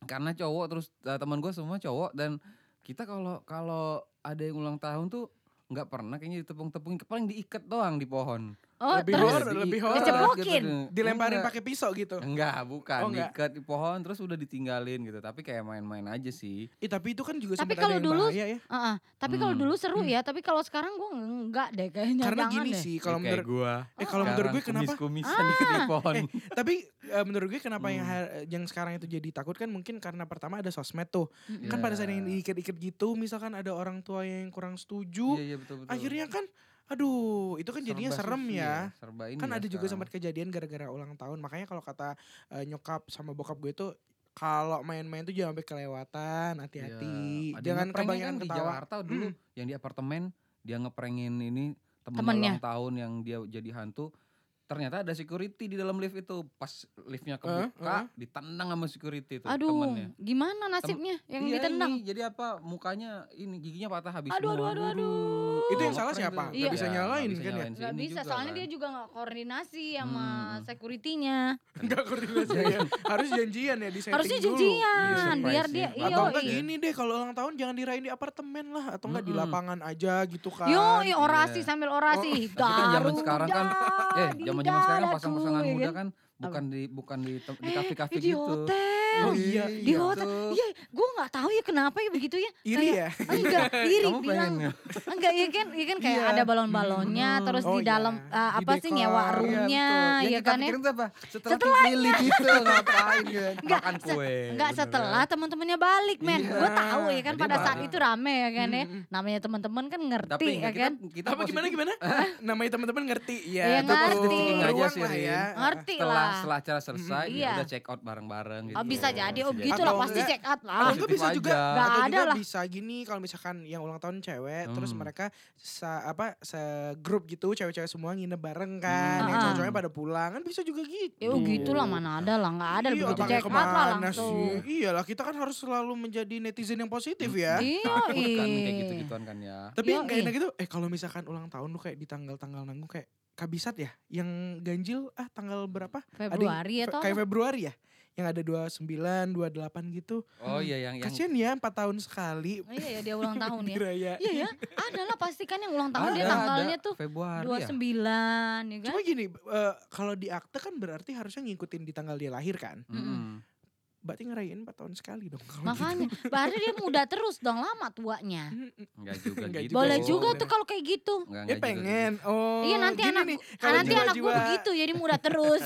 Speaker 3: Karena cowok terus eh, teman gue semua cowok dan kita kalau kalau ada yang ulang tahun tuh nggak pernah kayaknya ditepung-tepungin, paling diikat doang di pohon. gitu
Speaker 2: Oh,
Speaker 1: Lebih
Speaker 2: terus
Speaker 1: horor. lebih horor.
Speaker 2: Diceplokin?
Speaker 1: Dilemparin
Speaker 3: Enggak.
Speaker 1: pakai pisau gitu.
Speaker 3: Enggak, bukan.
Speaker 1: Oh, enggak.
Speaker 3: Diikat di pohon terus udah ditinggalin gitu. Tapi kayak main-main aja sih.
Speaker 1: Eh, tapi itu kan juga sempat
Speaker 2: Tapi
Speaker 1: ada
Speaker 2: kalau
Speaker 1: yang
Speaker 2: dulu-
Speaker 1: bahaya ya.
Speaker 2: Heeh, tapi kalau
Speaker 3: Hmm.
Speaker 2: dulu seru ya, tapi kalau sekarang gue enggak deh kayaknya.
Speaker 1: Karena
Speaker 2: jangan
Speaker 1: gini
Speaker 2: deh.
Speaker 1: sih kalau
Speaker 3: Ya, kayak
Speaker 1: menurut
Speaker 3: gua.
Speaker 1: eh kalau menurut gue
Speaker 3: Sekarang
Speaker 1: kenapa? Ah,
Speaker 3: Kumis-kumisan diikat di pohon.
Speaker 1: Tapi eh, menurut gue kenapa yang
Speaker 3: Hmm.
Speaker 1: har- yang sekarang itu jadi takut kan mungkin karena pertama ada sosmed tuh.
Speaker 2: Mm-mm.
Speaker 1: Kan pada
Speaker 3: Iya.
Speaker 1: saat yang diikat-ikat gitu misalkan ada orang tua yang kurang
Speaker 3: Iya,
Speaker 1: setuju,
Speaker 3: iya betul-betul.
Speaker 1: akhirnya kan aduh, itu kan jadinya
Speaker 3: Serba
Speaker 1: serem
Speaker 3: sufi
Speaker 1: ya.
Speaker 3: Serba ini
Speaker 1: kan
Speaker 3: ya
Speaker 1: ada juga
Speaker 3: sekarang.
Speaker 1: sempat kejadian gara-gara ulang tahun makanya kalau kata eh, nyokap sama bokap gue tuh kalau main-main tuh jangan sampai kelewatan hati-hati
Speaker 3: Iya, ada
Speaker 1: jangan
Speaker 3: ngepranknya
Speaker 1: kebanyakan
Speaker 3: kan di
Speaker 1: ketawa Hmm.
Speaker 3: Jakarta dulu yang di apartemen dia ngeprengin ini
Speaker 2: Temennya.
Speaker 3: temennya ulang tahun yang dia jadi hantu ternyata ada security di dalam lift itu pas liftnya kebuka
Speaker 1: eh.
Speaker 3: ditendang sama security itu
Speaker 2: Aduh,
Speaker 3: temennya
Speaker 2: gimana nasibnya yang
Speaker 3: Iya,
Speaker 2: ditendang?
Speaker 3: ini, jadi apa mukanya ini giginya patah habis
Speaker 2: Aduh, aduh,
Speaker 3: semua.
Speaker 2: aduh, aduh.
Speaker 1: Itu yang salah siapa?
Speaker 3: Ngeprank tuh.
Speaker 2: Nggak
Speaker 3: Iya,
Speaker 1: bisa
Speaker 3: nggak
Speaker 1: nyalain
Speaker 3: bisa
Speaker 1: kan ya?
Speaker 3: nyalain si
Speaker 2: Gak
Speaker 3: ini
Speaker 2: bisa,
Speaker 3: juga
Speaker 2: soalnya
Speaker 3: kan.
Speaker 2: dia juga gak koordinasi sama
Speaker 3: Hmm.
Speaker 2: security-nya.
Speaker 1: enggak koordinasi ya harus janjian ya di setting
Speaker 2: Harusnya
Speaker 1: dulu.
Speaker 3: Iya,
Speaker 2: janjian,
Speaker 3: surprise
Speaker 2: biar
Speaker 3: sih.
Speaker 2: dia,
Speaker 3: Atau
Speaker 1: atau
Speaker 2: iyo,
Speaker 1: enggak
Speaker 3: iya.
Speaker 1: gini deh kalau ulang tahun jangan dirayain di apartemen lah atau enggak di
Speaker 3: Mm-mm.
Speaker 1: lapangan aja gitu kan
Speaker 2: Yo, orasi
Speaker 3: Iya.
Speaker 2: sambil orasi.
Speaker 3: Tapi kan zaman sekarang kan,
Speaker 2: Garuda
Speaker 3: eh zaman zaman sekarang
Speaker 2: dadaku,
Speaker 3: pasang-pasangan
Speaker 2: ya
Speaker 3: muda
Speaker 2: kan?
Speaker 3: kan bukan di bukan di tem- di
Speaker 2: Eh,
Speaker 3: kafe-kafe
Speaker 2: di
Speaker 3: gitu
Speaker 2: hotel.
Speaker 1: Oh, iya,
Speaker 2: di hotel. Iya, gue nggak tahu ya kenapa ya begitu ya.
Speaker 1: iri
Speaker 2: Kayak-
Speaker 1: ya
Speaker 2: Enggak, iri
Speaker 3: Oh, iya. Kamu
Speaker 2: bilang.
Speaker 3: pengen ya?
Speaker 2: Enggak, iya kan, iya kan kayak
Speaker 1: Iya.
Speaker 2: ada balon-balonnya,
Speaker 3: Hmm.
Speaker 2: terus
Speaker 1: Oh,
Speaker 2: di dalam
Speaker 1: iya.
Speaker 2: eh,
Speaker 1: Di
Speaker 2: apa sih nyewa
Speaker 1: dekor. Iya,
Speaker 2: roomnya,
Speaker 3: Yang
Speaker 2: ya kan
Speaker 3: kita
Speaker 2: ya.
Speaker 3: pikirin tuh apa? Setelah
Speaker 2: Setelah
Speaker 3: dipilih gitu ngapain gitu.
Speaker 2: Enggak,
Speaker 3: Makan
Speaker 2: se-
Speaker 3: kue.
Speaker 2: Enggak
Speaker 1: ya.
Speaker 3: bener
Speaker 2: setelah
Speaker 3: kan?
Speaker 2: teman-temannya balik men,
Speaker 3: Iya.
Speaker 2: gue tahu ya kan
Speaker 3: Jadi
Speaker 2: pada saat
Speaker 3: balik.
Speaker 2: itu rame ya kan ya,
Speaker 1: Mm-mm.
Speaker 2: namanya teman-teman kan
Speaker 3: Tapi
Speaker 2: ngerti ya
Speaker 3: enggak,
Speaker 2: kan,
Speaker 3: kita, kita
Speaker 1: apa
Speaker 3: positif
Speaker 1: gimana gimana namanya teman-teman ngerti ya
Speaker 2: Iya,
Speaker 1: betul.
Speaker 2: ngerti.
Speaker 1: Ruang
Speaker 3: Aja sih,
Speaker 1: lah
Speaker 3: Rin.
Speaker 1: ya
Speaker 2: ngerti
Speaker 3: setelah
Speaker 2: Iya lah.
Speaker 3: eh, setelah acara selesai
Speaker 2: Mm,
Speaker 3: ya
Speaker 2: iya.
Speaker 3: udah check out bareng-bareng gitu.
Speaker 2: Oh, bisa jadi, oh
Speaker 3: Bisa
Speaker 2: gitu lah
Speaker 1: Atau
Speaker 2: pasti
Speaker 1: enggak-
Speaker 2: check out
Speaker 1: Atau
Speaker 2: lah.
Speaker 1: enggak
Speaker 3: Positif
Speaker 1: bisa juga
Speaker 3: aja.
Speaker 2: Nggak
Speaker 1: atau
Speaker 2: ada
Speaker 1: juga
Speaker 2: lah.
Speaker 1: bisa gini kalau misalkan yang ulang tahun cewek terus
Speaker 3: Hmm.
Speaker 1: mereka sa, apa segrup gitu cewek-cewek semua nginep bareng kan yang
Speaker 2: Ah.
Speaker 1: cowok-cowoknya pada pulang kan bisa juga gitu.
Speaker 2: Ya oh, gitu lah
Speaker 3: Tuh.
Speaker 2: mana ada lah, nggak ada
Speaker 1: Iya,
Speaker 2: begitu
Speaker 1: pakai
Speaker 2: check out lah
Speaker 1: kemana sih?
Speaker 2: langsung.
Speaker 1: Iyalah kita kan harus selalu menjadi netizen yang positif ya.
Speaker 2: Iya,
Speaker 3: Takut kan kayak
Speaker 2: iya.
Speaker 3: gitu-gituan kan ya.
Speaker 1: Tapi yang kayak
Speaker 2: Yoi.
Speaker 1: enak itu eh kalau misalkan ulang tahun lu kayak di tanggal-tanggal nanggung kayak kabisat ya yang ganjil ah tanggal berapa? Ada yang
Speaker 2: Februari ya
Speaker 1: fe-
Speaker 2: toh.
Speaker 1: Kayak Februari ya. Yang ada 29, 28 gitu.
Speaker 3: Oh iya yang yang
Speaker 1: Kasian ya 4 tahun sekali
Speaker 2: Iya ya dia ulang tahun ya.
Speaker 1: dirayain.
Speaker 2: Iya ya, ada lah pasti kan yang ulang tahun dia
Speaker 3: Ada, ada.
Speaker 2: tanggalnya tuh
Speaker 3: Februari ya.
Speaker 2: 29 ya kan.
Speaker 1: Cuma gini, eh, kalau di akte kan berarti harusnya ngikutin di tanggal dia lahir kan.
Speaker 3: Mm-mm.
Speaker 1: Berarti ngerayain 4 tahun sekali dong. kalau
Speaker 2: Makanya, berarti dia muda terus dong lama tuanya.
Speaker 1: gitu. Mm-mm.
Speaker 3: Enggak juga
Speaker 1: Enggak
Speaker 3: gitu.
Speaker 1: juga
Speaker 2: Boleh
Speaker 1: sih.
Speaker 2: juga tuh kalau kayak gitu.
Speaker 3: Enggak,
Speaker 1: Ya
Speaker 3: enggak juga
Speaker 1: pengen. Oh.
Speaker 2: Iya nanti
Speaker 1: gini
Speaker 2: anak
Speaker 1: nih, kalau
Speaker 2: nanti anak gue
Speaker 1: jiwa-jiwa
Speaker 2: begitu jadi muda terus.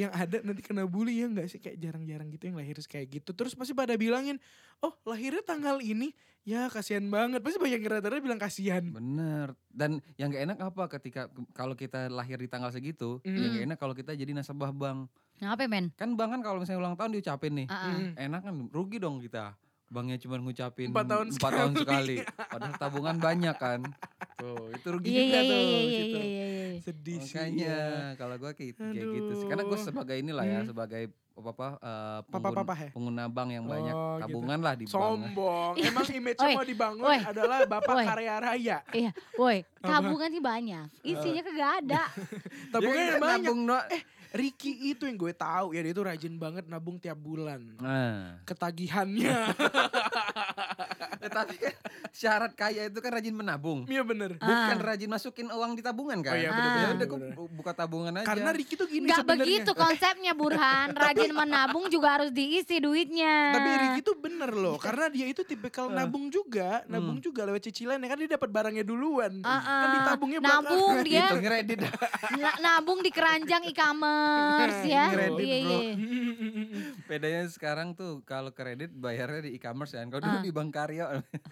Speaker 1: Yang ada nanti kena bully ya enggak sih kayak jarang-jarang gitu yang lahir kayak gitu. Terus pasti pada bilangin, "Oh, lahirnya tanggal ini." Ya kasihan banget. Pasti banyak yang rata-rata bilang kasihan.
Speaker 3: gitu. Bener. Dan yang gak enak apa ketika kalau kita lahir di tanggal segitu,
Speaker 1: Mm.
Speaker 3: yang gak enak kalau kita jadi nasabah bank.
Speaker 2: Ngapa men?
Speaker 3: Kan bank kan kalau misalnya ulang tahun diucapin nih,
Speaker 2: Ah, ah.
Speaker 1: Mm.
Speaker 3: enak kan rugi dong kita. Banknya cuma ngucapin
Speaker 1: Empat tahun
Speaker 3: empat tahun sekali. Padahal tabungan banyak kan. Tuh, itu rugi
Speaker 2: Iya
Speaker 3: juga
Speaker 2: iya iya
Speaker 3: tuh.
Speaker 2: iya
Speaker 3: di
Speaker 2: iya
Speaker 3: situ.
Speaker 2: iya, iya. iya.
Speaker 1: Sedih sih.
Speaker 3: Makanya
Speaker 1: ya.
Speaker 3: kalau gue kayak, kayak gitu sih. Karena gue
Speaker 1: Aduh.
Speaker 3: sebagai inilah ya,
Speaker 2: Mm.
Speaker 1: Hmm.
Speaker 3: sebagai apa eh, pengguna,
Speaker 1: Papa-papa ya.
Speaker 3: pengguna bank yang banyak
Speaker 1: Oh, gitu.
Speaker 3: tabungan lah di bank.
Speaker 1: Sombong. Emang image
Speaker 2: Iya. Oi,
Speaker 1: yang mau dibangun
Speaker 2: oi,
Speaker 1: adalah bapak
Speaker 2: oi.
Speaker 1: karya raya.
Speaker 2: Iya, woi,
Speaker 1: Apa? Eh,
Speaker 2: tabungan sih banyak. Isinya kagak ada.
Speaker 1: Tabungnya
Speaker 3: Dia kan
Speaker 2: kan
Speaker 1: yang banyak.
Speaker 3: nabung no.
Speaker 2: Eh.
Speaker 1: Ricky itu yang gue tahu ya dia itu rajin banget nabung tiap bulan.
Speaker 3: Nah.
Speaker 1: Ketagihannya.
Speaker 3: Eh, tapi kan syarat kaya itu kan rajin menabung.
Speaker 1: Iya bener.
Speaker 3: Bukan
Speaker 2: Ah.
Speaker 3: rajin masukin uang di tabungan
Speaker 1: Oh
Speaker 3: kan.
Speaker 1: iya,
Speaker 2: bener-bener,
Speaker 3: Ya udah gua
Speaker 1: bener-bener.
Speaker 3: bu- buka tabungan aja.
Speaker 1: Karena Ricky tuh gini
Speaker 2: Nggak
Speaker 1: sebenarnya.
Speaker 2: begitu konsepnya Burhan. Rajin menabung juga harus diisi duitnya.
Speaker 1: Tapi gitu. Ricky tuh bener loh,
Speaker 3: Iya.
Speaker 1: karena dia itu tipikal nabung juga,
Speaker 3: Hmm.
Speaker 1: nabung juga lewat cicilan ya kan dia dapat barangnya duluan.
Speaker 2: Ah-ah.
Speaker 1: Kan ditabungnya
Speaker 2: Ah,
Speaker 1: Gitu
Speaker 2: Nabung
Speaker 1: belakangan.
Speaker 2: dia.
Speaker 3: Hitung Gitu. kredit.
Speaker 2: Na- nabung di keranjang e-commerce ya.
Speaker 3: Kredit,
Speaker 2: Iya,
Speaker 3: bro.
Speaker 2: iya.
Speaker 3: Bedanya sekarang tuh kalau kredit bayarnya di e-commerce kan. Kalau dulu
Speaker 2: Ah.
Speaker 3: di Bank Karya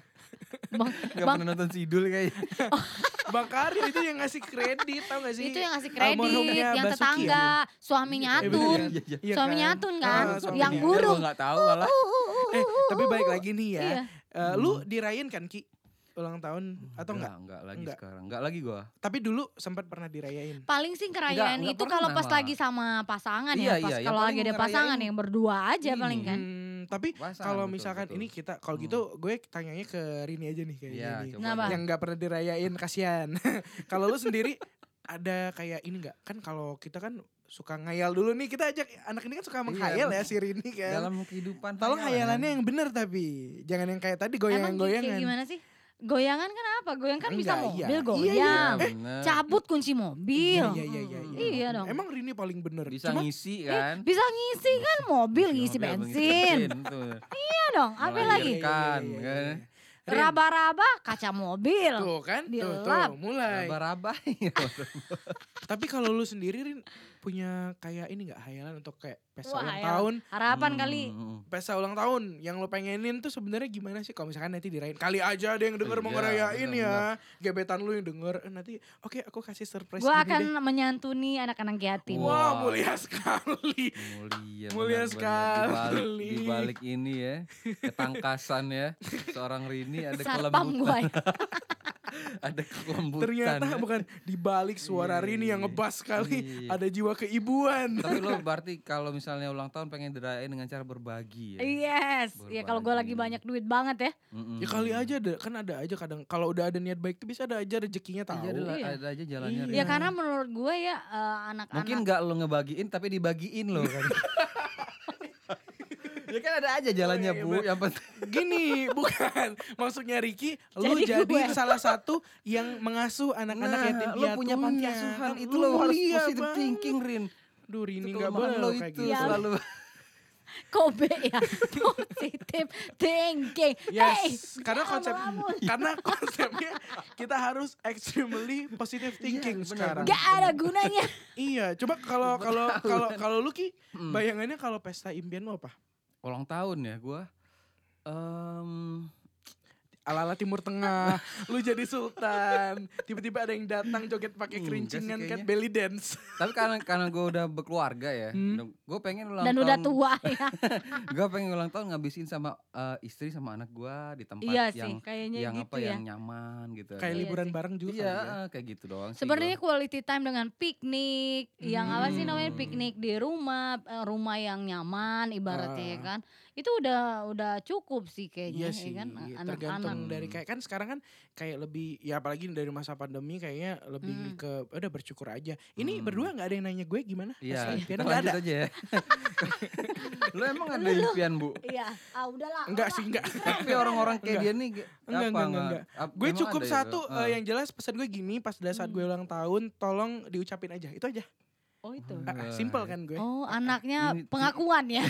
Speaker 2: Bang,
Speaker 3: nggak
Speaker 2: bang
Speaker 3: pernah nonton Sidul kayaknya.
Speaker 1: Bang Karyo itu yang ngasih kredit tau gak sih?
Speaker 2: itu yang ngasih kredit,
Speaker 1: almarhumnya Basuki
Speaker 2: yang
Speaker 1: ya?
Speaker 2: tetangga, suaminya
Speaker 1: Eh,
Speaker 2: atun.
Speaker 1: bener.
Speaker 3: Iya, iya.
Speaker 1: Iya
Speaker 2: suaminya
Speaker 1: kan?
Speaker 2: atun kan,
Speaker 1: Ah, suaminya.
Speaker 2: yang
Speaker 1: Dia
Speaker 2: burung.
Speaker 3: Gak tahu malah.
Speaker 2: Uh, uh, uh,
Speaker 1: Eh,
Speaker 2: uh,
Speaker 1: tapi
Speaker 2: uh,
Speaker 1: baik
Speaker 2: uh.
Speaker 1: lagi nih ya.
Speaker 2: Iya.
Speaker 1: Eh, lu dirayain kan Ki ulang tahun atau enggak?
Speaker 3: Hmm. Enggak lagi
Speaker 1: Enggak.
Speaker 3: sekarang. Enggak lagi gua.
Speaker 1: Tapi dulu sempat pernah dirayain.
Speaker 2: Paling sih kerayaan
Speaker 3: Nggak, nggak
Speaker 2: itu kalau
Speaker 3: pernah
Speaker 2: pas
Speaker 3: malah.
Speaker 2: lagi sama pasangan
Speaker 3: Iya,
Speaker 2: ya, pas
Speaker 3: iya, yang
Speaker 2: kalau lagi
Speaker 3: paling
Speaker 2: ada pasangan
Speaker 3: ngerayain
Speaker 2: yang berdua aja paling
Speaker 3: ini.
Speaker 2: kan.
Speaker 1: Hmm, tapi
Speaker 3: Pasangan,
Speaker 1: kalau
Speaker 3: betul,
Speaker 1: misalkan
Speaker 3: betul. Hmm.
Speaker 1: ini kita kalau gitu gue tanyanya ke Rini aja nih kayaknya
Speaker 3: Iya,
Speaker 1: nih.
Speaker 3: coba.
Speaker 2: Kenapa?
Speaker 3: aja.
Speaker 1: Yang nggak pernah dirayain kasihan. kalau lu sendiri ada kayak ini nggak? Kan kalau kita kan suka ngayal dulu nih kita ajak anak ini kan suka
Speaker 2: Iya,
Speaker 1: menghayal ya si Rini kan.
Speaker 3: Dalam kehidupan
Speaker 1: Tolong
Speaker 3: hayalan.
Speaker 1: hayalannya yang benar tapi jangan yang kayak tadi
Speaker 2: Emang gitu, kayak
Speaker 1: goyang-goyangan. Iya,
Speaker 2: gimana sih? Goyangan kan apa? Goyang kan
Speaker 1: Enggak,
Speaker 2: bisa
Speaker 1: iya.
Speaker 2: mobil
Speaker 1: Iya,
Speaker 2: goyang.
Speaker 1: iya.
Speaker 3: Iya, bener.
Speaker 2: Cabut kunci mobil.
Speaker 1: Iya, iya, iya, iya.
Speaker 2: Eh, Iya dong.
Speaker 1: Emang Rini paling bener.
Speaker 3: Bisa
Speaker 1: Cuma
Speaker 3: ngisi
Speaker 2: Eh,
Speaker 3: kan.
Speaker 2: bisa ngisi kan mobil ngisi
Speaker 3: Mobil mengisi
Speaker 2: bensin.
Speaker 3: bensin, tuh.
Speaker 2: Iya dong, apa
Speaker 3: Melahirkan.
Speaker 2: lagi?
Speaker 3: Kan, kan.
Speaker 1: iya, Rin.
Speaker 2: Raba-raba kaca mobil.
Speaker 1: Tuh kan, tuh,
Speaker 2: Dilap.
Speaker 1: tuh, mulai.
Speaker 3: Raba-raba.
Speaker 1: Tapi kalau lu sendiri Rin punya kayak ini nggak hayalan untuk kayak pesta
Speaker 2: Wah, ya.
Speaker 1: ulang
Speaker 2: hayalan.
Speaker 1: tahun,
Speaker 2: Harapan kali.
Speaker 3: Hmm,
Speaker 1: pesta ulang tahun yang lu pengenin tuh sebenarnya gimana sih kalau misalkan nanti dirayain. Kali aja ada yang denger
Speaker 3: Iya,
Speaker 1: mau ngerayain ya.
Speaker 3: benar-benar.
Speaker 1: Gebetan lu yang denger eh, nanti oke aku kasih surprise
Speaker 2: Gue
Speaker 1: gini deh.
Speaker 2: akan menyantuni anak-anak yatim.
Speaker 3: Wah.
Speaker 1: Wah, mulia sekali.
Speaker 3: Mulia,
Speaker 1: Mulia
Speaker 3: benar-benar. Di balik-
Speaker 1: sekali.
Speaker 3: Di balik ini ya, ketangkasan ya, seorang Rini ada
Speaker 2: Sarpam
Speaker 3: kelembutan,
Speaker 2: gue.
Speaker 3: ada kelembutan.
Speaker 1: Ternyata
Speaker 3: ya.
Speaker 1: bukan di balik suara
Speaker 3: Iya,
Speaker 1: Rini yang
Speaker 3: iya.
Speaker 1: ngebas kali
Speaker 3: Iya.
Speaker 1: ada jiwa keibuan.
Speaker 3: Tapi lo berarti kalau misalnya ulang tahun pengen dirayain dengan cara berbagi ya.
Speaker 1: Iya.
Speaker 2: Yes, ya kalau gue lagi
Speaker 3: Berbagi.
Speaker 2: banyak duit banget ya.
Speaker 3: Mm-mm. Iya,
Speaker 1: Ya kali aja ada, kan ada aja kadang kalau udah ada niat baik tuh bisa ada aja rezekinya tahu.
Speaker 3: Iya, ada, lah-
Speaker 2: Iya.
Speaker 3: ada aja jalannya.
Speaker 1: Iya.
Speaker 2: Ya
Speaker 3: Rin.
Speaker 2: karena menurut gue ya eh,
Speaker 3: Mungkin
Speaker 2: anak-anak.
Speaker 3: nggak lo ngebagiin tapi dibagiin lo kan. ya kan ada aja jalannya
Speaker 1: Oh, iya,
Speaker 3: bu.
Speaker 1: bener.
Speaker 3: Yang penting
Speaker 1: Gini, bukan. Maksudnya Riki, lu
Speaker 2: Jadi
Speaker 1: jadi,
Speaker 2: gue.
Speaker 1: salah satu yang mengasuh anak-anak
Speaker 3: Nah,
Speaker 1: yatim
Speaker 3: lo punya panti
Speaker 1: piatunya.
Speaker 3: asuhan
Speaker 1: Kan
Speaker 3: itu lo harus
Speaker 1: mulia
Speaker 3: positive
Speaker 1: banget.
Speaker 3: thinking Rin.
Speaker 1: Duh, Rini
Speaker 3: Itu
Speaker 1: nggak
Speaker 3: kelemahan
Speaker 1: boleh
Speaker 3: lo
Speaker 1: lo kayak
Speaker 3: itu
Speaker 1: gitu.
Speaker 2: Ya.
Speaker 3: selalu.
Speaker 2: Kobe ya, positif thinking. Hey,
Speaker 1: Yes, karena konsep karena konsepnya kita harus extremely positive thinking
Speaker 3: benar,
Speaker 1: sekarang.
Speaker 2: gak ada gunanya.
Speaker 1: Iya, coba kalau kalau kalau kalau lu Ki, bayangannya kalau pesta impian lu apa?
Speaker 3: Ulang tahun ya gue. Em,
Speaker 1: ala-ala Timur Tengah, lu jadi sultan, tiba-tiba ada yang datang joget pakai
Speaker 3: Hmm,
Speaker 1: kerincingan
Speaker 3: enggak sih
Speaker 1: kan
Speaker 3: kayaknya.
Speaker 1: belly dance.
Speaker 3: tapi karena karena gue udah berkeluarga ya,
Speaker 1: Hmm.
Speaker 3: gue pengen ulang
Speaker 2: Dan
Speaker 3: tahun.
Speaker 2: udah tua ya.
Speaker 3: Gue pengen ulang tahun ngabisin sama eh, istri sama anak gue di tempat
Speaker 2: Iya sih,
Speaker 3: yang
Speaker 2: kayaknya
Speaker 3: yang
Speaker 2: gitu
Speaker 3: apa
Speaker 2: ya.
Speaker 3: yang nyaman gitu.
Speaker 1: Kayak
Speaker 2: Iya
Speaker 1: liburan
Speaker 2: sih.
Speaker 1: bareng juga kali
Speaker 3: Iya,
Speaker 1: ya.
Speaker 3: eh, kayak gitu doang. sih
Speaker 2: Sebenarnya
Speaker 3: gua.
Speaker 2: quality time dengan piknik, yang apa sih namanya
Speaker 3: Hmm.
Speaker 2: piknik di rumah, eh, rumah yang nyaman ibaratnya ya
Speaker 1: Ah.
Speaker 2: kan. Itu udah udah cukup sih
Speaker 1: Iya
Speaker 2: kayaknya ya
Speaker 1: sih,
Speaker 2: kan
Speaker 1: tergantung
Speaker 2: anak-anak.
Speaker 1: dari kayak kan sekarang kan kayak lebih ya apalagi dari masa pandemi kayaknya lebih
Speaker 2: Hmm.
Speaker 1: ke ya udah bersyukur aja. Ini
Speaker 3: Hmm.
Speaker 1: berdua nggak ada yang nanya gue gimana?
Speaker 3: Iya,
Speaker 1: Pesta
Speaker 3: kita
Speaker 1: impian nggak
Speaker 3: lanjut
Speaker 1: ada.
Speaker 3: aja ya. lo emang ada impian bu?
Speaker 2: Iya, ah udahlah.
Speaker 1: Enggak sih, enggak.
Speaker 3: Tapi orang-orang kayak dia nih ge-
Speaker 1: Enggak,
Speaker 3: apa,
Speaker 1: enggak, enggak,
Speaker 3: ap-
Speaker 1: gue
Speaker 3: emang
Speaker 1: cukup
Speaker 3: ada ya,
Speaker 1: satu
Speaker 3: Bro?
Speaker 1: eh,
Speaker 3: Ah.
Speaker 1: yang jelas pesan gue gini pas pada saat gue ulang tahun tolong diucapin aja. Itu aja.
Speaker 2: Oh itu.
Speaker 1: Ah, ah, simple kan gue.
Speaker 2: Oh anaknya
Speaker 3: Ini-
Speaker 2: pengakuan ya.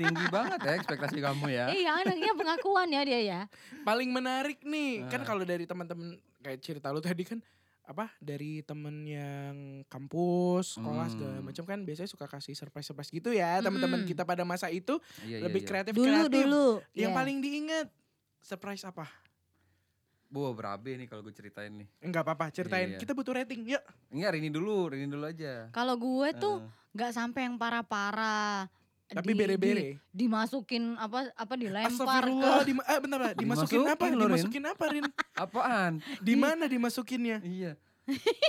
Speaker 3: tinggi banget ya ekspektasi kamu ya.
Speaker 2: Iya anaknya pengakuan ya dia ya.
Speaker 1: paling menarik nih kan
Speaker 3: Ah.
Speaker 1: kalau dari teman-teman kayak cerita lu tadi kan apa dari temen yang kampus sekolah segala
Speaker 3: Hmm.
Speaker 1: macam kan biasanya suka kasih surprise surprise gitu ya teman-teman
Speaker 2: Mm-mm.
Speaker 1: kita pada masa itu
Speaker 3: Iya, iya,
Speaker 1: lebih
Speaker 3: iya.
Speaker 1: kreatif
Speaker 2: Dulu
Speaker 1: kreatif
Speaker 2: dulu.
Speaker 1: yang
Speaker 2: Iya.
Speaker 1: paling diingat surprise apa
Speaker 3: Bu berabe nih kalau gue ceritain nih.
Speaker 1: Enggak apa-apa ceritain
Speaker 3: Iya.
Speaker 1: kita butuh rating yuk
Speaker 3: Enggak Rini dulu, Rini dulu aja.
Speaker 2: Kalau gue tuh
Speaker 3: Eh,
Speaker 2: nggak sampai yang parah-parah.
Speaker 1: tapi
Speaker 2: Di- di-
Speaker 1: bere-bere
Speaker 2: dimasukin apa apa dilempar ke
Speaker 1: Astagfirullah, di, eh, bentar, bentar. dimasukin,
Speaker 3: Dimasukin
Speaker 1: apa?
Speaker 3: lu, Rin.
Speaker 1: dimasukin apa, Rin?
Speaker 3: apaan?
Speaker 1: Di mana dimasukinnya?
Speaker 3: Iya.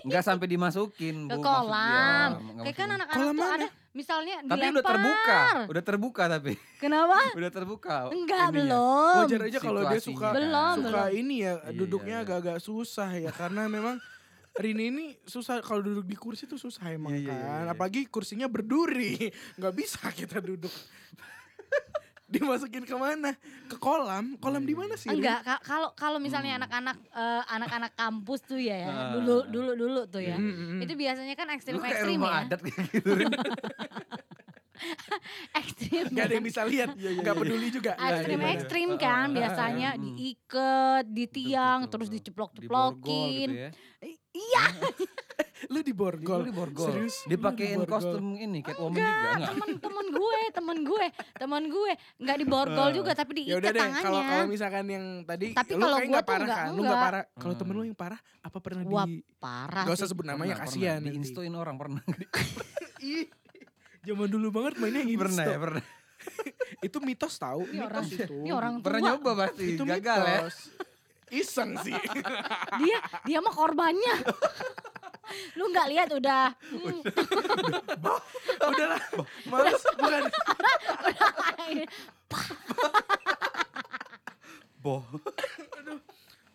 Speaker 3: Enggak sampai dimasukin,
Speaker 2: ke
Speaker 3: Bu. maksud dia.
Speaker 2: kolam. Kayak
Speaker 3: Enggak
Speaker 2: kan
Speaker 3: masukin.
Speaker 2: anak-anak
Speaker 1: Kolam
Speaker 2: tuh
Speaker 1: mana?
Speaker 2: ada misalnya
Speaker 3: Tapi
Speaker 2: dilempar.
Speaker 3: udah terbuka, Oh, udah terbuka tapi.
Speaker 2: Kenapa?
Speaker 3: udah terbuka.
Speaker 2: Enggak
Speaker 3: ininya.
Speaker 2: belum.
Speaker 3: Oh,
Speaker 1: Wajar aja kalau dia suka
Speaker 3: Situasinya.
Speaker 2: Oh, Belum,
Speaker 1: suka ini ya
Speaker 3: Iya,
Speaker 1: duduknya
Speaker 3: iya.
Speaker 1: agak-agak susah ya karena memang Rini ini susah kalau duduk di kursi tuh susah emang
Speaker 3: Iya, iya,
Speaker 1: kan
Speaker 3: iya, iya.
Speaker 1: apalagi kursinya berduri nggak bisa kita duduk dimasukin kemana? Ke kolam? Kolam di mana sih? Rin?
Speaker 2: Enggak, ka- kalau kalau misalnya
Speaker 3: Hmm.
Speaker 2: anak-anak eh, anak-anak kampus tuh ya, ya,
Speaker 3: Ah.
Speaker 2: dulu dulu dulu tuh ya.
Speaker 1: Mm, mm, mm.
Speaker 2: Itu biasanya kan
Speaker 3: Hmm. Lu kayak
Speaker 2: ekstrim-ekstrim
Speaker 3: rumah
Speaker 2: ya.
Speaker 3: adat kayak gitu. Rin.
Speaker 2: Ekstrim.
Speaker 1: Gak ada yang bisa lihat,
Speaker 3: Iya,
Speaker 1: gak peduli juga.
Speaker 2: Ah,
Speaker 3: Ekstrim-ekstrim.
Speaker 2: Ekstrim-ekstrim
Speaker 3: Iya, iya,
Speaker 2: kan
Speaker 3: iya.
Speaker 2: biasanya
Speaker 3: Ah, ah, mm.
Speaker 2: diikat di tiang
Speaker 3: betul,
Speaker 2: terus
Speaker 3: betul. Diborgol
Speaker 2: diceplok-ceplokin.
Speaker 3: gitu ya.
Speaker 2: I- Iya,
Speaker 1: Lu di borgol.
Speaker 3: Lu diborgol.
Speaker 1: Serius? Iya, Lu
Speaker 3: Dipakein
Speaker 1: diborgol.
Speaker 3: kostum ini Catwoman juga enggak?
Speaker 2: temen-temen gue, temen gue, temen gue nggak diborgol
Speaker 3: Ah.
Speaker 2: juga tapi
Speaker 1: Ya
Speaker 2: diikat
Speaker 1: udah deh, kalau
Speaker 2: tangannya.
Speaker 1: kalau misalkan yang tadi
Speaker 2: Tapi
Speaker 1: lu
Speaker 2: kalau
Speaker 1: kayak
Speaker 2: gua
Speaker 1: nggak
Speaker 2: tuh
Speaker 1: parah
Speaker 2: nggak-
Speaker 1: kan? Lu nggak
Speaker 2: nggak.
Speaker 1: parah. Kalau temen lu
Speaker 3: Hmm.
Speaker 1: yang parah apa pernah
Speaker 2: Wah,
Speaker 1: di
Speaker 2: Parah.
Speaker 1: Gak
Speaker 2: sih.
Speaker 1: usah sebut namanya
Speaker 3: Pernah,
Speaker 1: kasihan
Speaker 3: pernah.
Speaker 1: nanti.
Speaker 3: Diinstuin orang pernah.
Speaker 1: Ih, Zaman dulu banget mainnya yang
Speaker 3: pernah
Speaker 1: insta.
Speaker 3: ya, pernah.
Speaker 1: Itu mitos tahu,
Speaker 2: Ini orang-
Speaker 1: mitos itu.
Speaker 2: Ini orang
Speaker 3: Pernah
Speaker 2: tua.
Speaker 3: nyoba pasti
Speaker 1: Itu
Speaker 3: gagal ya.
Speaker 1: mitos. Iseng sih.
Speaker 2: Dia dia mah korbannya. Lu nggak lihat udah. Hmm,
Speaker 1: Udahlah, males bukan.
Speaker 3: Boh.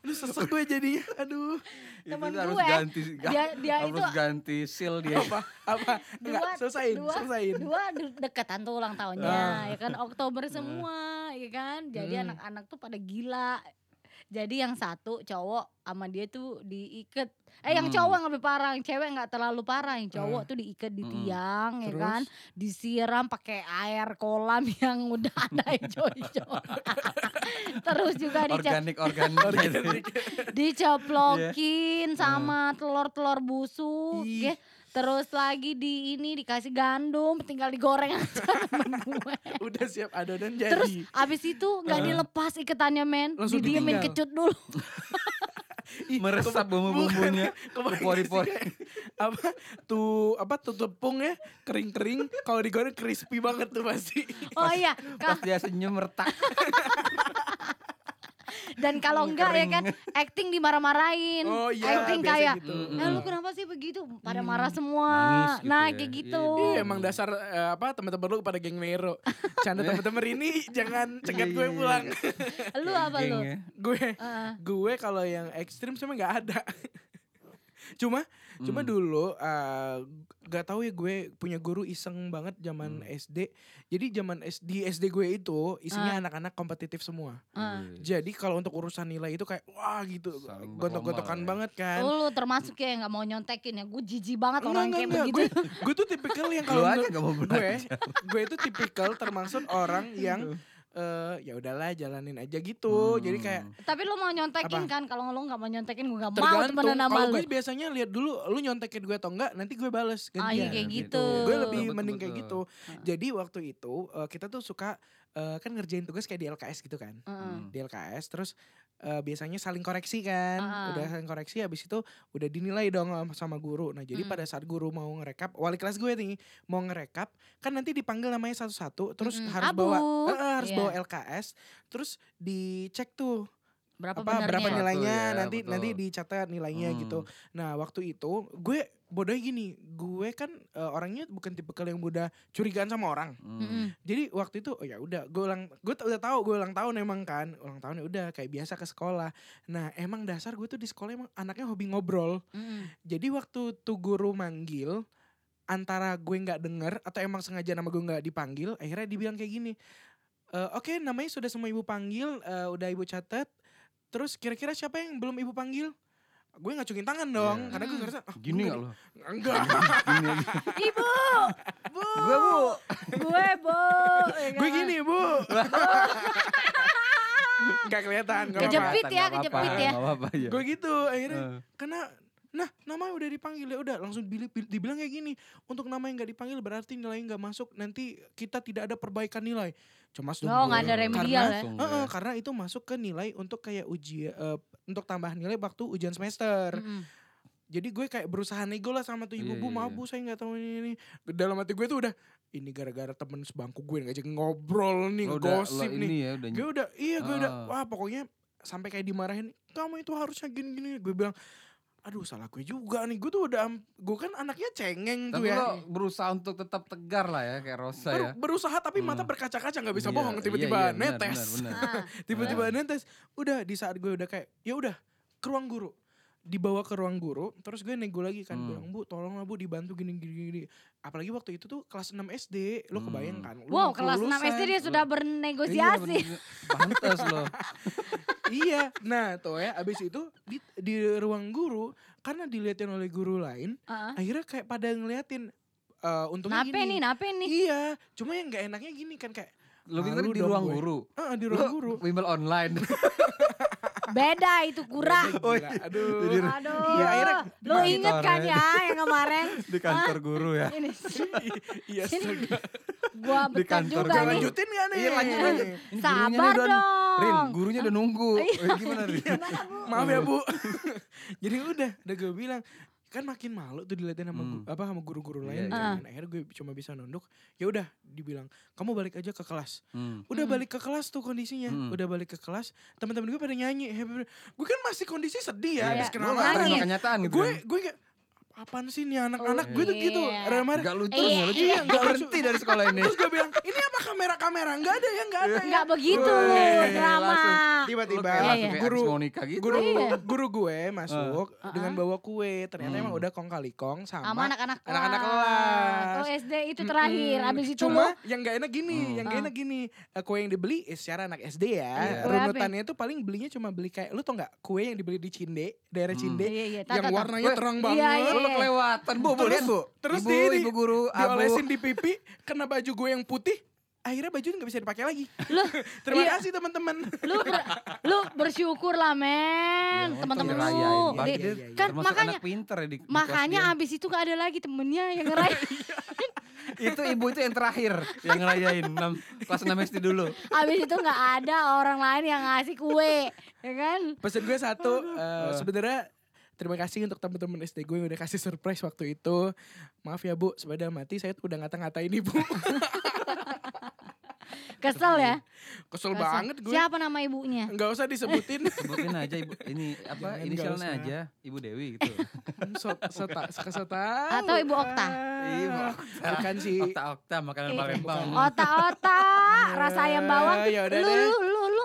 Speaker 1: Lu sesek gue jadinya. Aduh.
Speaker 2: Temen
Speaker 3: itu
Speaker 1: ya,
Speaker 3: harus
Speaker 2: gue,
Speaker 3: ganti
Speaker 2: dia dia
Speaker 3: harus
Speaker 2: itu
Speaker 3: ganti seal dia.
Speaker 1: Apa apa enggak
Speaker 2: dua,
Speaker 1: selesain,
Speaker 2: dua,
Speaker 1: selesain.
Speaker 2: dua de- dekatan tuh ulang tahunnya,
Speaker 1: Iya. Ah.
Speaker 2: ya kan Oktober semua, ya kan. Jadi
Speaker 1: Hmm.
Speaker 2: anak-anak tuh pada gila. Jadi yang satu cowok sama dia tuh diikat. Eh yang
Speaker 3: Hmm.
Speaker 2: cowok yang lebih parah, yang cewek nggak terlalu parah. Yang cowok tuh diikat di
Speaker 3: Mm-mm.
Speaker 2: tiang,
Speaker 1: Ah. Hmm.
Speaker 2: ya
Speaker 1: Terus?
Speaker 2: kan. Disiram pakai air kolam yang udah ada hijau-hijau. Terus juga dicat
Speaker 3: Organik organik.
Speaker 1: Organik.
Speaker 2: diceplokin sama telur-telur busuk
Speaker 1: Iya. Ih.
Speaker 2: ya. Terus lagi di ini dikasih gandum, tinggal digoreng aja temen gue.
Speaker 1: Udah siap adonan jadi.
Speaker 2: Terus abis itu nggak
Speaker 1: Heeh.
Speaker 2: dilepas iketannya men,
Speaker 1: Langsung ditinggal.
Speaker 2: didiemin kecut dulu.
Speaker 1: Ih,
Speaker 3: Meresap
Speaker 1: keba-
Speaker 3: bumbu-bumbunya
Speaker 1: bukan, kebayang gak
Speaker 3: pori-pori.
Speaker 1: sih kayak, apa tuh apa tuh tepung ya kering-kering kalau digoreng crispy banget tuh pasti
Speaker 2: Oh iya,
Speaker 3: Pas
Speaker 2: Ka-
Speaker 3: dia senyum retak.
Speaker 2: dan kalau enggak ya kan acting dimarah-marahin.
Speaker 1: oh iya
Speaker 2: acting
Speaker 1: biasa
Speaker 2: kayak
Speaker 1: gitu. Hmm,
Speaker 3: Mm-mm.
Speaker 2: "Eh, lu kenapa sih begitu? Pada marah
Speaker 3: Nangis
Speaker 2: semua.
Speaker 3: gitu
Speaker 2: nah,
Speaker 3: ya.
Speaker 2: kayak
Speaker 3: Iya,
Speaker 2: gitu.
Speaker 1: Iya, emang dasar eh, apa teman-teman lu pada geng Mero. Canda teman-teman ini jangan cegat gue pulang.
Speaker 2: Lu apa lu?
Speaker 3: Geng ya.
Speaker 1: gue
Speaker 2: Heeh.
Speaker 1: gue kalau yang ekstrim sama nggak ada. cuma cuma dulu eh, nggak tahu ya gue punya guru iseng banget zaman SD. Jadi zaman S- di SD gue itu isinya
Speaker 2: Ah.
Speaker 1: anak-anak kompetitif semua.
Speaker 2: heeh.
Speaker 1: Jadi kalau untuk urusan nilai itu kayak wah gitu
Speaker 3: Saling
Speaker 1: gontok-gontokan
Speaker 3: berlomba
Speaker 1: banget kan.
Speaker 2: Lu termasuk ya yang gak mau nyontekin ya. Gue jijik banget
Speaker 1: Enggak,
Speaker 2: orang
Speaker 1: enggak,
Speaker 2: kayak
Speaker 1: enggak.
Speaker 2: begitu.
Speaker 1: Gue, gue tuh tipikal yang
Speaker 3: Lu
Speaker 1: kalau
Speaker 3: aja
Speaker 1: menurut
Speaker 3: gak mau
Speaker 1: gue,
Speaker 3: belajar.
Speaker 1: gue itu tipikal termasuk orang
Speaker 3: Hmm.
Speaker 1: yang eh ya udahlah jalanin aja gitu. Jadi kayak
Speaker 2: Tapi lu mau nyontekin
Speaker 1: Apa?
Speaker 2: kan? Kalau lu gak mau nyontekin gue gak mau
Speaker 1: tergantung.
Speaker 2: temenan sama
Speaker 1: Kalau
Speaker 2: lu.
Speaker 1: gue biasanya lihat dulu lu nyontekin gue atau enggak, nanti gue bales
Speaker 2: Ah, iya,
Speaker 1: gantian.
Speaker 2: kayak
Speaker 3: gitu.
Speaker 2: gitu.
Speaker 1: Gue lebih
Speaker 3: Betul,
Speaker 1: mending kayak
Speaker 3: betul,
Speaker 1: gitu. Jadi waktu itu eh, kita tuh suka eh, kan ngerjain tugas kayak di LKS gitu kan.
Speaker 2: Heeh.
Speaker 3: Hmm.
Speaker 1: di LKS terus eh, biasanya saling koreksi kan
Speaker 2: Ah.
Speaker 1: udah saling koreksi habis itu udah dinilai dong sama- sama guru nah jadi
Speaker 2: Mm.
Speaker 1: pada saat guru mau ngerekap wali kelas gue nih mau ngerekap kan nanti dipanggil namanya satu-satu terus
Speaker 2: Mm-mm.
Speaker 1: harus
Speaker 2: Abu.
Speaker 1: bawa eh, eh, harus
Speaker 2: Hmm, Iya.
Speaker 1: bawa LKS terus dicek tuh
Speaker 2: Berapa
Speaker 1: apa
Speaker 2: benernya?
Speaker 1: berapa
Speaker 3: Satu
Speaker 1: nilainya
Speaker 3: ya,
Speaker 1: nanti
Speaker 3: betul.
Speaker 1: nanti dicatat nilainya
Speaker 3: Hmm.
Speaker 1: gitu nah waktu itu gue bodohnya gini gue kan eh, orangnya bukan tipe yang mudah curigaan sama orang
Speaker 3: Hmm.
Speaker 2: Mm-mm.
Speaker 1: jadi waktu itu oh ya udah gue ulang gue t- udah tahu gue ulang tahun emang kan ulang tahun ya udah kayak biasa ke sekolah nah emang dasar gue tuh di sekolah emang anaknya hobi ngobrol
Speaker 2: Mm-mm.
Speaker 1: jadi waktu tuh guru manggil antara gue nggak denger atau emang sengaja nama gue nggak dipanggil akhirnya dibilang kayak gini "Eh, oke namanya sudah semua ibu panggil eh, udah ibu catat terus kira-kira siapa yang belum ibu panggil gue ngacungin tangan dong
Speaker 3: Iya.
Speaker 1: karena gue
Speaker 2: Mm.
Speaker 1: ngerasa "Ah,
Speaker 3: Gini
Speaker 1: gue
Speaker 3: gak lu?
Speaker 1: enggak
Speaker 2: Ibu, bu,
Speaker 3: Gue bu.
Speaker 2: gue bu. Ya
Speaker 1: gue
Speaker 2: kan?
Speaker 1: gini bu nggak kelihatan nggak apa-apa.
Speaker 2: Kejepit ya,
Speaker 3: Nggak apa-apa,
Speaker 2: kejepit ya.
Speaker 3: nggak apa-apa ya.
Speaker 1: gue gitu akhirnya
Speaker 3: Eh.
Speaker 1: karena nah namanya udah dipanggil ya udah langsung bili- bil- dibilang kayak gini untuk nama yang nggak dipanggil berarti nilainya nggak masuk nanti kita tidak ada perbaikan nilai cuma
Speaker 2: Oh, nggak ada remedial ya.
Speaker 3: Langsung
Speaker 1: Heeh,
Speaker 3: ya.
Speaker 1: karena itu masuk ke nilai untuk kayak ujian untuk tambahan nilai waktu ujian semester
Speaker 2: Mm-mm.
Speaker 1: jadi gue kayak berusaha nego lah sama tuh ibu
Speaker 3: Iya,
Speaker 1: bu
Speaker 3: iya,
Speaker 1: maaf
Speaker 3: iya.
Speaker 1: bu saya nggak tahu ini, ini dalam hati gue tuh udah ini gara-gara temen sebangku gue yang ngajak ngobrol nih
Speaker 3: Lo udah- lo
Speaker 1: gosip nih
Speaker 3: ini ya udah
Speaker 1: gue udah iya gue udah
Speaker 3: Ah.
Speaker 1: wah pokoknya sampai kayak dimarahin kamu itu harusnya gini gini gue bilang aduh salah gue juga nih gue tuh udah am- gue kan anaknya cengeng tuh
Speaker 3: Tapi
Speaker 2: Iya.
Speaker 1: ya
Speaker 3: lo berusaha untuk tetap tegar lah ya kayak Rosa
Speaker 1: Baru-
Speaker 3: ya.
Speaker 1: berusaha tapi mata
Speaker 3: Hmm.
Speaker 1: berkaca-kaca nggak bisa
Speaker 3: Iya,
Speaker 1: bohong
Speaker 3: iya,
Speaker 1: tiba-tiba
Speaker 3: iya, benar,
Speaker 1: netes
Speaker 3: benar, benar.
Speaker 2: Ah,
Speaker 1: tiba-tiba
Speaker 3: Benar.
Speaker 1: netes udah di saat gue udah kayak ya udah ke ruang guru dibawa ke ruang guru terus gue nego lagi kan
Speaker 3: Hmm.
Speaker 1: bilang bu tolonglah bu dibantu gini gini gini apalagi waktu itu tuh kelas 6 SD lo
Speaker 3: Hmm.
Speaker 1: kebayang kan Lu mau
Speaker 2: Wow, kelas 6 SD dia
Speaker 1: kelulusan.
Speaker 2: sudah bernegosiasi.
Speaker 3: Iya, Pantes loh.
Speaker 1: iya nah tuh ya abis itu di, di ruang guru karena diliatin oleh guru lain
Speaker 2: Heeh.
Speaker 1: akhirnya kayak pada ngeliatin eh untungnya
Speaker 2: Nape nih,
Speaker 1: gini
Speaker 2: nape nih?
Speaker 1: iya cuma yang nggak enaknya gini kan kayak
Speaker 3: Lu kan
Speaker 1: Malu
Speaker 3: di
Speaker 1: dong
Speaker 3: ruang
Speaker 1: gue.
Speaker 3: guru.
Speaker 1: "Ah, di
Speaker 3: Lu
Speaker 1: ruang guru
Speaker 3: bimbel online.
Speaker 2: Beda itu kurang.
Speaker 1: Gila, aduh
Speaker 3: Oh, Jadi
Speaker 1: Iya, akhirnya gitu?
Speaker 2: Aduh, lu inget
Speaker 3: kantor
Speaker 2: kan
Speaker 3: ya.
Speaker 2: ya yang kemarin?
Speaker 3: di kantor guru ya.
Speaker 2: Ini
Speaker 1: iya
Speaker 2: Sini.
Speaker 1: astaga.
Speaker 2: gua
Speaker 3: Di
Speaker 2: betah
Speaker 3: kantor
Speaker 1: Gak
Speaker 2: juga
Speaker 3: gua
Speaker 2: nih.
Speaker 1: lanjutin gak nih?
Speaker 3: Iya, lanjut, lanjut. Ini gurunya nih,
Speaker 2: Sabar
Speaker 3: Don. Rin,
Speaker 2: dong. Iya,
Speaker 3: gurunya udah nunggu. Eh, gimana Rin?
Speaker 1: Maaf
Speaker 3: Iya.
Speaker 1: ya bu. Jadi udah, udah gue bilang kan makin malu tuh diliatin sama gu-
Speaker 3: Hmm.
Speaker 1: apa sama guru-guru lain
Speaker 3: Iya, iya.
Speaker 1: kan. akhirnya gue cuma bisa nunduk ya udah dibilang kamu balik aja ke kelas
Speaker 3: Hmm.
Speaker 1: udah
Speaker 2: Hmm.
Speaker 1: balik ke kelas tuh kondisinya
Speaker 3: Hmm.
Speaker 1: udah balik ke kelas teman-teman gue pada nyanyi happy birthday. gue kan masih kondisi sedih ya habis
Speaker 2: Iya. Lu
Speaker 1: kenalan
Speaker 2: nangis.
Speaker 3: Sama kenyataan gitu.
Speaker 1: gue gue gak apaan sih nih anak-anak gue tuh gitu
Speaker 2: Iya.
Speaker 1: Remar
Speaker 3: Gak lucu,
Speaker 2: Iya,
Speaker 3: gak lucu.
Speaker 1: iya,
Speaker 3: Gak
Speaker 1: nggak
Speaker 3: berhenti dari sekolah ini.
Speaker 1: terus gue bilang ini apa kamera-kamera nggak ada ya nggak ada ya
Speaker 2: Enggak begitu
Speaker 3: Wih,
Speaker 2: drama.
Speaker 3: langsung. Lu
Speaker 1: tiba-tiba
Speaker 3: kayak
Speaker 2: Iya,
Speaker 3: langsung
Speaker 2: iya.
Speaker 3: kayak
Speaker 1: guru
Speaker 3: abis mau nikah gitu. Eh.
Speaker 1: guru
Speaker 2: Iya.
Speaker 1: guru gue masuk
Speaker 2: Ah.
Speaker 1: dengan bawa kue ternyata
Speaker 3: Hmm.
Speaker 1: emang udah kong kali kong
Speaker 2: Sama
Speaker 1: sama
Speaker 2: anak-anak kelas.
Speaker 1: anak-anak kelas.
Speaker 2: Oh, SD itu terakhir.
Speaker 1: Mm-mm.
Speaker 2: Habis itu lu
Speaker 1: cuma yang gak enak gini
Speaker 3: Hmm.
Speaker 1: yang gak
Speaker 2: Ah.
Speaker 1: enak gini eh, kue yang dibeli eh, secara anak SD
Speaker 3: Iya.
Speaker 1: ya
Speaker 2: Kue apa?
Speaker 1: runutannya tuh paling belinya cuma beli kayak lu tau nggak kue yang dibeli di Cinde daerah
Speaker 3: Hmm.
Speaker 1: Cinde
Speaker 2: Iya, iya, tak,
Speaker 1: yang
Speaker 2: tak, tak.
Speaker 1: warnanya
Speaker 3: Weh,
Speaker 1: terang
Speaker 2: iya,
Speaker 1: banget
Speaker 2: iya.
Speaker 3: Lu kelewatan. Bu, bu,
Speaker 1: Terus-
Speaker 3: lihat bu.
Speaker 1: terus
Speaker 3: ibu,
Speaker 1: dia ini
Speaker 3: ibu guru, abu.
Speaker 1: diolesin di pipi kena baju gue yang putih akhirnya baju nggak bisa dipakai lagi
Speaker 2: Loh,
Speaker 1: terima
Speaker 2: iya.
Speaker 1: kasih teman-teman
Speaker 2: lu ber- lu bersyukur lah
Speaker 1: Ya,
Speaker 2: men teman-teman lu
Speaker 1: Bang. Iya,
Speaker 2: Di-
Speaker 1: iya, iya.
Speaker 2: kan
Speaker 3: termasuk
Speaker 2: makanya-
Speaker 3: anak pinter ya di, di kelas
Speaker 2: makanya
Speaker 3: dia.
Speaker 2: abis itu gak ada lagi temennya yang ngerayain
Speaker 3: itu ibu itu yang terakhir yang ngerayain enam kelas 6 SD dulu
Speaker 2: abis itu gak ada orang lain yang ngasih kue ya kan
Speaker 1: Pesan gue satu, eh,
Speaker 3: Eh.
Speaker 1: sebenarnya terima kasih untuk teman-teman SD gue yang udah kasih surprise waktu itu. Maaf ya Bu, sepeda mati saya udah ngata-ngatain Ibu.
Speaker 2: kesel ya
Speaker 1: Kesel
Speaker 2: Kesel.
Speaker 1: banget gue.
Speaker 2: siapa nama ibunya
Speaker 1: Nggak usah disebutin.
Speaker 3: sebutin aja ibu ini apa
Speaker 1: Jangan,
Speaker 3: inisialnya
Speaker 1: nggak usah.
Speaker 3: aja ibu Dewi gitu
Speaker 1: so, sota, suka sota.
Speaker 2: Atau Ibu Okta?
Speaker 1: Iya, Ibu Bukan sih.
Speaker 3: Iya, Okta Okta makanan
Speaker 2: Iya.
Speaker 3: Palembang
Speaker 2: otak-otak rasa ayam bawang
Speaker 1: Hmm. Ya
Speaker 2: tuh
Speaker 1: udah
Speaker 2: lu
Speaker 1: deh.
Speaker 2: lu lu lu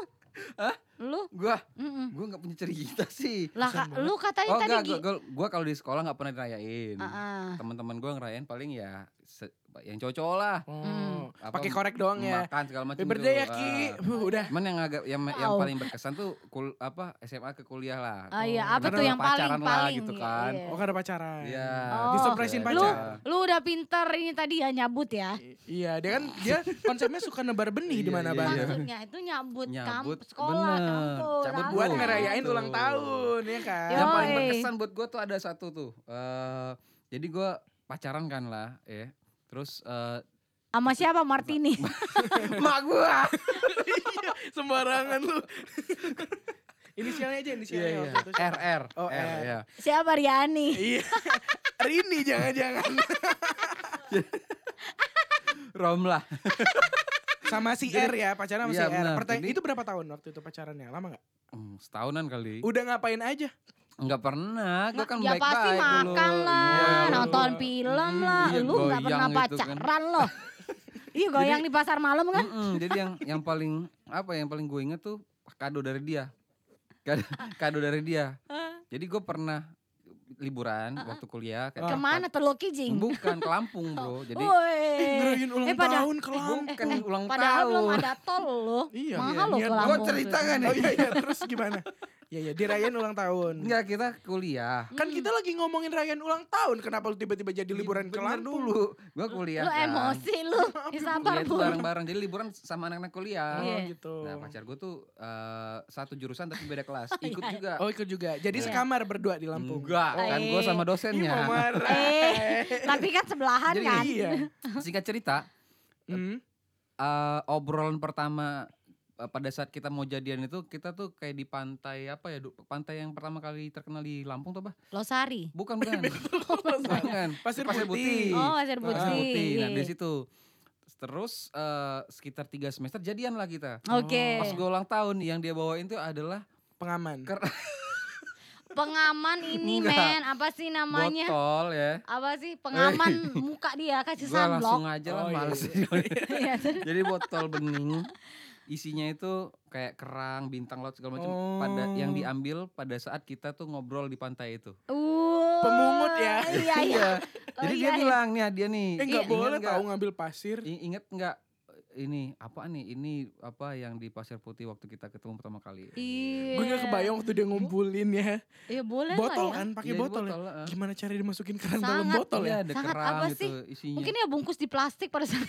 Speaker 3: Hah?
Speaker 2: lu
Speaker 3: gua
Speaker 2: mm-mm.
Speaker 3: gua nggak punya cerita sih
Speaker 2: lah ka- lu katanya
Speaker 3: oh
Speaker 2: tadi
Speaker 3: enggak
Speaker 2: gi
Speaker 3: gua, gua, gua kalau di sekolah nggak pernah dirayain
Speaker 2: Ah, ah.
Speaker 3: teman-teman gua ngerayain paling ya se- yang cocok lah
Speaker 2: Hmm.
Speaker 1: Oh,
Speaker 3: Apa,
Speaker 1: Pakai korek doang ya.
Speaker 3: makan segala macam
Speaker 1: Happy birthday ya
Speaker 3: tuh.
Speaker 1: Ki.
Speaker 3: Ah.
Speaker 1: Huh, udah.
Speaker 3: Cuman yang agak yang, yang
Speaker 2: Wow.
Speaker 3: paling berkesan tuh kul, apa SMA ke kuliah lah.
Speaker 2: Ah, iya
Speaker 1: Oh,
Speaker 2: apa
Speaker 1: karena
Speaker 2: tuh
Speaker 1: udah
Speaker 2: yang paling
Speaker 3: pacaran lah
Speaker 2: paling
Speaker 3: gitu
Speaker 2: iya,
Speaker 3: kan.
Speaker 2: iya.
Speaker 1: Oh, kan ada pacaran.
Speaker 3: Iya.
Speaker 2: Oh.
Speaker 1: Disurpresin
Speaker 3: Iya.
Speaker 2: lu
Speaker 1: pacar.
Speaker 2: lu udah pinter ini tadi ya nyabut ya
Speaker 1: I- Iya, dia kan dia konsepnya suka nebar benih di
Speaker 3: Iya, iya,
Speaker 1: mana-mana.
Speaker 3: iya.
Speaker 2: maksudnya itu nyabut,
Speaker 3: Nyabut,
Speaker 2: kamp, sekolah
Speaker 3: bener.
Speaker 2: kampus
Speaker 3: Cabut
Speaker 1: Buat
Speaker 2: Iya.
Speaker 3: Betul.
Speaker 1: ngerayain
Speaker 3: Betul.
Speaker 1: ulang tahun, ya kan?
Speaker 3: Yang paling
Speaker 2: Yoi.
Speaker 3: berkesan buat gue tuh ada satu tuh. Eh jadi gue pacaran kan lah, ya. Terus eh
Speaker 2: sama siapa Martini
Speaker 3: mak gue.
Speaker 1: Iya, sembarangan lu. Iya, inisialnya aja inisialnya. waktu itu.
Speaker 3: RR.
Speaker 1: Oh,
Speaker 3: R,
Speaker 1: R.
Speaker 3: ya.
Speaker 2: siapa Riani
Speaker 1: Iya. Rini jangan-jangan.
Speaker 3: Rom lah.
Speaker 1: Sama si R ya, pacaran sama si
Speaker 3: Iya,
Speaker 1: R.
Speaker 3: benar.
Speaker 1: Pertanya-
Speaker 3: Jadi-
Speaker 1: itu berapa tahun waktu itu pacarannya? Lama gak?
Speaker 3: Hmm, setahunan kali.
Speaker 1: Udah ngapain aja?
Speaker 3: Enggak pernah. Gue kan
Speaker 2: ya
Speaker 3: baik-baik
Speaker 2: pasti
Speaker 3: dulu.
Speaker 2: makan lah,
Speaker 3: Iya, lu.
Speaker 2: nonton film
Speaker 3: Mm,
Speaker 2: lah,
Speaker 3: iya,
Speaker 2: lu nggak
Speaker 3: goyang
Speaker 2: pernah
Speaker 3: gitu kan.
Speaker 2: pacaran loh. Iya goyang di pasar malam kan?
Speaker 3: Mm-mm, jadi yang yang paling apa yang paling gue inget tuh kado dari dia. Kado, kado dari dia. Jadi gue pernah liburan waktu kuliah kayak
Speaker 2: Ah, Kemana Teluk Kijing?
Speaker 3: Bukan ke Lampung, Bro. Ah, Jadi
Speaker 2: Woi,
Speaker 1: Ngerayain ulang
Speaker 2: eh, pada-
Speaker 1: tahun ke
Speaker 3: bukan ulang
Speaker 2: padahal belum
Speaker 3: tahun.
Speaker 2: ada tol loh.
Speaker 1: Iya.
Speaker 2: Mahal
Speaker 1: iya,
Speaker 2: loh
Speaker 1: niat
Speaker 2: ke
Speaker 1: gua
Speaker 2: Lampung.
Speaker 3: Gue cerita
Speaker 2: tuh.
Speaker 3: gak
Speaker 1: Oh
Speaker 3: nih?
Speaker 1: iya, iya, terus gimana? Iya, iya, dirayain ulang tahun.
Speaker 3: Enggak, kita kuliah.
Speaker 1: Kan kita
Speaker 2: Hmm.
Speaker 1: lagi ngomongin rayain ulang tahun, kenapa lu tiba-tiba jadi
Speaker 2: Iya,
Speaker 1: liburan ke
Speaker 3: Bener
Speaker 1: Lampung?
Speaker 3: dulu. Gua kuliah.
Speaker 2: Lu
Speaker 3: kan.
Speaker 2: emosi lu, Ya, sabar
Speaker 3: Kuliah itu
Speaker 2: bu.
Speaker 3: bareng-bareng. Jadi liburan sama anak-anak kuliah.
Speaker 1: Oh
Speaker 2: Iya.
Speaker 1: gitu.
Speaker 3: Nah, pacar gue tuh eh, satu jurusan tapi beda kelas. Ikut
Speaker 2: Iya.
Speaker 3: juga.
Speaker 1: Oh ikut juga. Jadi
Speaker 2: Iya.
Speaker 1: sekamar berdua di Lampung.
Speaker 3: Enggak,
Speaker 2: Oh.
Speaker 3: kan gue sama
Speaker 1: Ih, mau
Speaker 3: dosennya.
Speaker 1: marah.
Speaker 2: Eh, tapi kan sebelahan
Speaker 3: Jadi
Speaker 2: kan.
Speaker 1: Iya.
Speaker 3: Singkat cerita,
Speaker 1: Hmm.
Speaker 3: eh, obrolan pertama eh, pada saat kita mau jadian itu kita tuh kayak di pantai apa ya Du? pantai yang pertama kali terkenal di Lampung tuh apa
Speaker 2: Losari.
Speaker 3: bukan bukan bukan
Speaker 1: Pasir
Speaker 3: Pasir
Speaker 1: Putih.
Speaker 3: putih.
Speaker 2: Oh, Pasir
Speaker 1: Pasir
Speaker 2: Putih.
Speaker 3: putih. Nah,
Speaker 2: Iya.
Speaker 3: di situ. Terus eh, sekitar tiga semester jadian lah kita.
Speaker 2: Oke.
Speaker 3: Pas gue ulang tahun yang dia bawain tuh adalah
Speaker 1: Pengaman.
Speaker 2: Kan- Pengaman ini
Speaker 3: Enggak.
Speaker 2: men, apa sih namanya?
Speaker 3: botol ya.
Speaker 2: Apa sih pengaman muka dia kasih
Speaker 3: Gue langsung
Speaker 2: sunblock.
Speaker 3: aja lah
Speaker 1: Oh, iya,
Speaker 3: males.
Speaker 1: iya.
Speaker 2: Iya,
Speaker 3: Jadi botol bening isinya itu kayak kerang, bintang laut segala macam pada
Speaker 1: Oh.
Speaker 3: yang diambil pada saat kita tuh ngobrol di pantai itu.
Speaker 2: Uh,
Speaker 1: Pemungut ya.
Speaker 2: Iya iya. Oh,
Speaker 3: Jadi
Speaker 2: iya,
Speaker 3: dia
Speaker 2: iya.
Speaker 3: bilang nih dia nih.
Speaker 1: Eh nggak
Speaker 3: "Ingat
Speaker 1: boleh
Speaker 3: nggak-
Speaker 1: tahu ngambil pasir.
Speaker 3: I- Ingat nggak eh, ini apa nih? Ini apa yang di Pasir Putih waktu kita ketemu pertama kali?
Speaker 2: Iya.
Speaker 1: Gue nggak kebayang waktu dia ngumpulin ya.
Speaker 2: Iya boleh
Speaker 1: Botol
Speaker 2: lah ya.
Speaker 1: kan, pakai
Speaker 3: Iya, di
Speaker 1: botol. ya.
Speaker 3: heeh.
Speaker 1: Gimana cara dimasukin keran dalam
Speaker 2: Sangat
Speaker 1: botol
Speaker 3: Iya,
Speaker 1: ya?
Speaker 3: ada
Speaker 2: Sangat
Speaker 3: kerang
Speaker 2: apa
Speaker 3: gitu isinya.
Speaker 2: Mungkin ya bungkus di plastik pada saat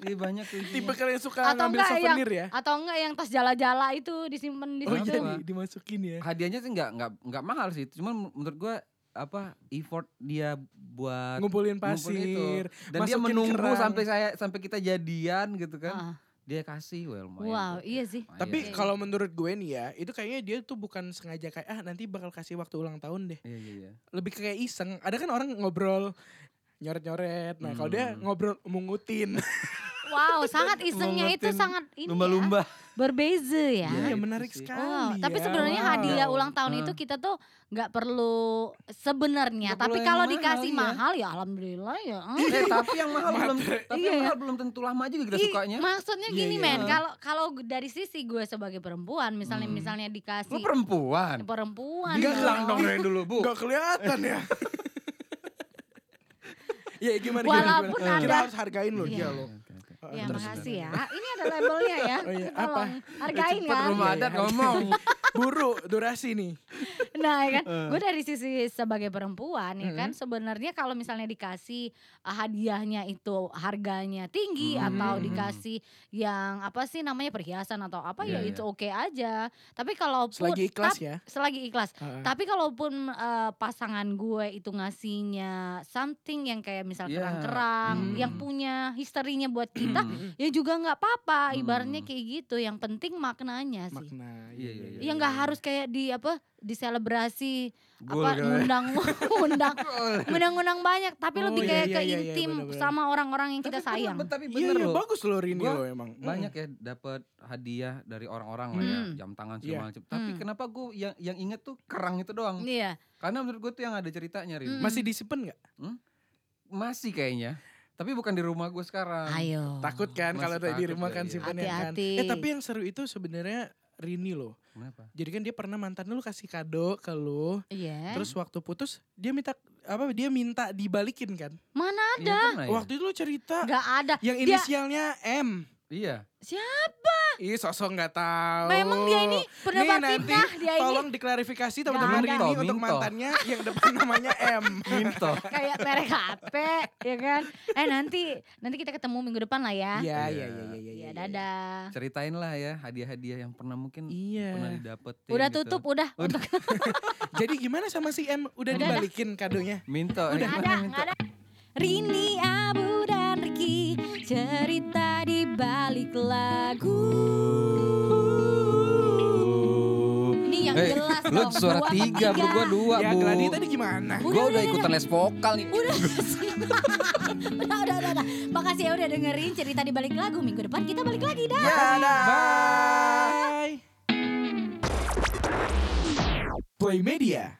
Speaker 3: Iya banyak tuh isinya.
Speaker 1: Tipe kalian suka
Speaker 2: Atau
Speaker 1: ngambil
Speaker 2: nggak yang- Gitu.
Speaker 1: souvenir ya?
Speaker 2: atau enggak yang tas jala-jala itu disimpan di
Speaker 1: Oh
Speaker 2: situ.
Speaker 1: iya,
Speaker 3: Kenapa?
Speaker 1: di- dimasukin ya.
Speaker 3: Hadiahnya sih nggak nggak nggak mahal sih. Cuman menurut gua apa effort dia buat
Speaker 1: Ngumpulin
Speaker 3: ngumpulin itu. Iya.
Speaker 1: pasir.
Speaker 3: dan dia
Speaker 1: masukin
Speaker 3: menunggu
Speaker 1: kerang.
Speaker 3: sampai saya sampai kita jadian gitu kan.
Speaker 2: Ah,
Speaker 3: Dia kasih well lumayan.
Speaker 2: wow,
Speaker 3: tuh.
Speaker 2: iya sih.
Speaker 3: Lumayan.
Speaker 1: Tapi
Speaker 2: Iya.
Speaker 1: kalau menurut gue nih ya, itu kayaknya dia tuh bukan sengaja kayak ah nanti bakal kasih waktu ulang tahun deh.
Speaker 3: Iya iya iya.
Speaker 1: Lebih ke kayak iseng. Ada kan orang ngobrol nyoret-nyoret. Nah, kalau dia
Speaker 3: Hmm.
Speaker 1: ngobrol mengutin.
Speaker 2: Wow, sangat isengnya itu
Speaker 3: Ngutin
Speaker 2: sangat ini ya.
Speaker 3: Lumba-lumba.
Speaker 2: Berbeza ya.
Speaker 1: Iya,
Speaker 3: Iya, itu
Speaker 1: menarik
Speaker 3: sih.
Speaker 1: sekali.
Speaker 2: Wow, Oh, tapi
Speaker 1: ya.
Speaker 2: sebenarnya
Speaker 1: Wow.
Speaker 2: hadiah ulang tahun
Speaker 3: Heeh.
Speaker 2: itu kita tuh nggak perlu sebenarnya.
Speaker 3: Nggak
Speaker 2: Tapi
Speaker 3: perlu yang
Speaker 2: kalau
Speaker 3: mahal,
Speaker 2: dikasih
Speaker 3: iya.
Speaker 2: mahal ya alhamdulillah ya. eh.
Speaker 3: Eh, tapi yang mahal belum tapi
Speaker 2: Iya,
Speaker 3: yang
Speaker 2: ya.
Speaker 3: mahal belum tentu lama juga kita
Speaker 2: Ih,
Speaker 3: sukanya.
Speaker 2: Maksudnya
Speaker 1: Iya,
Speaker 2: gini
Speaker 1: iya.
Speaker 2: men, kalau kalau dari sisi gue sebagai perempuan, misalnya
Speaker 3: Hmm.
Speaker 2: misalnya dikasih
Speaker 3: Lu perempuan.
Speaker 2: perempuan,
Speaker 1: Digelang dong
Speaker 3: dari dulu, Bu.
Speaker 1: Gak kelihatan ya. Ya gimana gimana,
Speaker 2: Walaupun
Speaker 1: gimana? Kita
Speaker 2: ada-
Speaker 1: harus hargain loh
Speaker 2: Iya.
Speaker 1: dia loh. Heeh,
Speaker 2: Ya
Speaker 1: terus.
Speaker 2: makasih ya. Ini ada labelnya ya.
Speaker 1: Oh iya, apa?
Speaker 2: Tolong hargain
Speaker 1: Cepet
Speaker 2: ya.
Speaker 3: rumah
Speaker 1: Iya, iya,
Speaker 3: adat
Speaker 1: hargain.
Speaker 3: ngomong.
Speaker 1: Buru durasi nih.
Speaker 2: Nah, ya kan.
Speaker 3: Eh.
Speaker 2: Gue dari sisi sebagai perempuan ya kan
Speaker 1: Mm-mm.
Speaker 2: sebenarnya kalau misalnya dikasih eh, hadiahnya itu harganya tinggi
Speaker 3: Mm-mm.
Speaker 2: atau dikasih yang apa sih namanya perhiasan atau apa ya
Speaker 3: Iya, iya.
Speaker 2: itu oke aja. Tapi kalaupun
Speaker 1: Selagi ikhlas
Speaker 2: tap-
Speaker 1: ya.
Speaker 2: selagi ikhlas.
Speaker 1: Heeh.
Speaker 2: Tapi kalaupun eh, pasangan gue itu ngasihnya something yang kayak misal
Speaker 3: Iya.
Speaker 2: kerang-kerang,
Speaker 1: Mm.
Speaker 2: yang punya historinya buat kita,
Speaker 1: Mm-mm.
Speaker 2: ya juga nggak apa-apa
Speaker 3: Hmm.
Speaker 2: ibaratnya kayak gitu yang penting maknanya sih
Speaker 1: Makna.
Speaker 3: Iya, iya,
Speaker 2: ya nggak harus kayak di apa diselebrasi
Speaker 1: kan?
Speaker 3: Gol
Speaker 2: apa
Speaker 3: kali.
Speaker 2: ngundang ngundang ngundang ngundang banyak tapi
Speaker 1: Oh,
Speaker 2: lebih
Speaker 1: iya,
Speaker 2: kayak
Speaker 1: iya,
Speaker 2: ke
Speaker 1: iya, iya,
Speaker 2: intim
Speaker 1: bener-bener.
Speaker 2: sama orang-orang yang kita
Speaker 3: Tapi bener-
Speaker 2: sayang
Speaker 3: Tapi
Speaker 1: Iya,
Speaker 3: bener
Speaker 1: iya,
Speaker 3: loh.
Speaker 1: bagus loh Rini
Speaker 3: Gua
Speaker 1: lo emang.
Speaker 2: Hmm.
Speaker 1: Mm.
Speaker 3: Banyak ya dapat hadiah dari orang-orang lah ya,
Speaker 2: Mm.
Speaker 3: jam tangan
Speaker 1: Iya.
Speaker 3: segala macam. Tapi
Speaker 2: Mm.
Speaker 3: kenapa gue yang yang inget tuh kerang itu doang?
Speaker 2: iya
Speaker 3: Karena menurut gue tuh yang ada ceritanya, Rin.
Speaker 2: Mm.
Speaker 1: Masih disimpan nggak?
Speaker 3: Masih kayaknya. Tapi bukan di rumah gue sekarang.
Speaker 2: ayo
Speaker 1: Takut kan
Speaker 3: masih
Speaker 1: kalau tadi
Speaker 3: takut
Speaker 1: rumah
Speaker 3: gua,
Speaker 1: kan
Speaker 3: iya.
Speaker 1: simpen ya kan.
Speaker 2: Hati-hati.
Speaker 1: Eh tapi yang seru itu sebenarnya Rini loh.
Speaker 3: Kenapa?
Speaker 1: Jadi kan dia pernah mantan lu kasih kado ke lu.
Speaker 2: iya
Speaker 1: Terus waktu putus dia minta apa dia minta dibalikin kan.
Speaker 2: mana
Speaker 3: Iya, pernah ya?
Speaker 1: Waktu itu lu cerita
Speaker 2: nggak ada
Speaker 1: yang
Speaker 2: Dia-
Speaker 1: inisialnya M.
Speaker 3: Iya.
Speaker 1: Ih sosok nggak tahu.
Speaker 2: memang dia ini
Speaker 1: Oh.
Speaker 2: pendapat
Speaker 1: nanti
Speaker 2: fitnah dia ini
Speaker 1: Tolong diklarifikasi teman-teman
Speaker 2: Nggak
Speaker 1: Rini
Speaker 3: ada.
Speaker 1: untuk
Speaker 3: Minto.
Speaker 1: mantannya yang depan namanya M.
Speaker 3: Minto.
Speaker 2: kayak merek HP ya kan eh nanti nanti kita ketemu minggu depan lah ya
Speaker 1: Iya iya iya
Speaker 3: Iya.
Speaker 1: iya iya.
Speaker 2: Iya,
Speaker 1: iya.
Speaker 2: dadah
Speaker 3: Ceritain lah ya hadiah-hadiah yang pernah mungkin
Speaker 1: Iya.
Speaker 3: pernah didapetin.
Speaker 2: udah
Speaker 3: gitu.
Speaker 2: tutup udah
Speaker 3: Udah.
Speaker 2: untuk
Speaker 1: Jadi gimana sama si M? Udah
Speaker 2: Udah,
Speaker 1: dibalikin kadonya?
Speaker 3: Minto.
Speaker 2: Nggak
Speaker 3: eh,
Speaker 2: ada,
Speaker 3: gimana Minto?
Speaker 2: nggak ada. Rini, Abu, dan Riki Cerita di balik lagu Ini yang
Speaker 3: Eh,
Speaker 2: jelas
Speaker 3: lu
Speaker 2: dong
Speaker 3: suara
Speaker 2: dua Iya, per
Speaker 3: tiga, bro. Gua dua,
Speaker 1: ya
Speaker 3: bu.
Speaker 1: Gladi tadi gimana?
Speaker 3: Gue udah ikutan les vokal nih.
Speaker 2: Udah, udah, udah, udah, udah. Makasih ya udah dengerin cerita di balik lagu Minggu depan kita balik lagi dah
Speaker 1: Ya, Dadah. Bye. Play Media.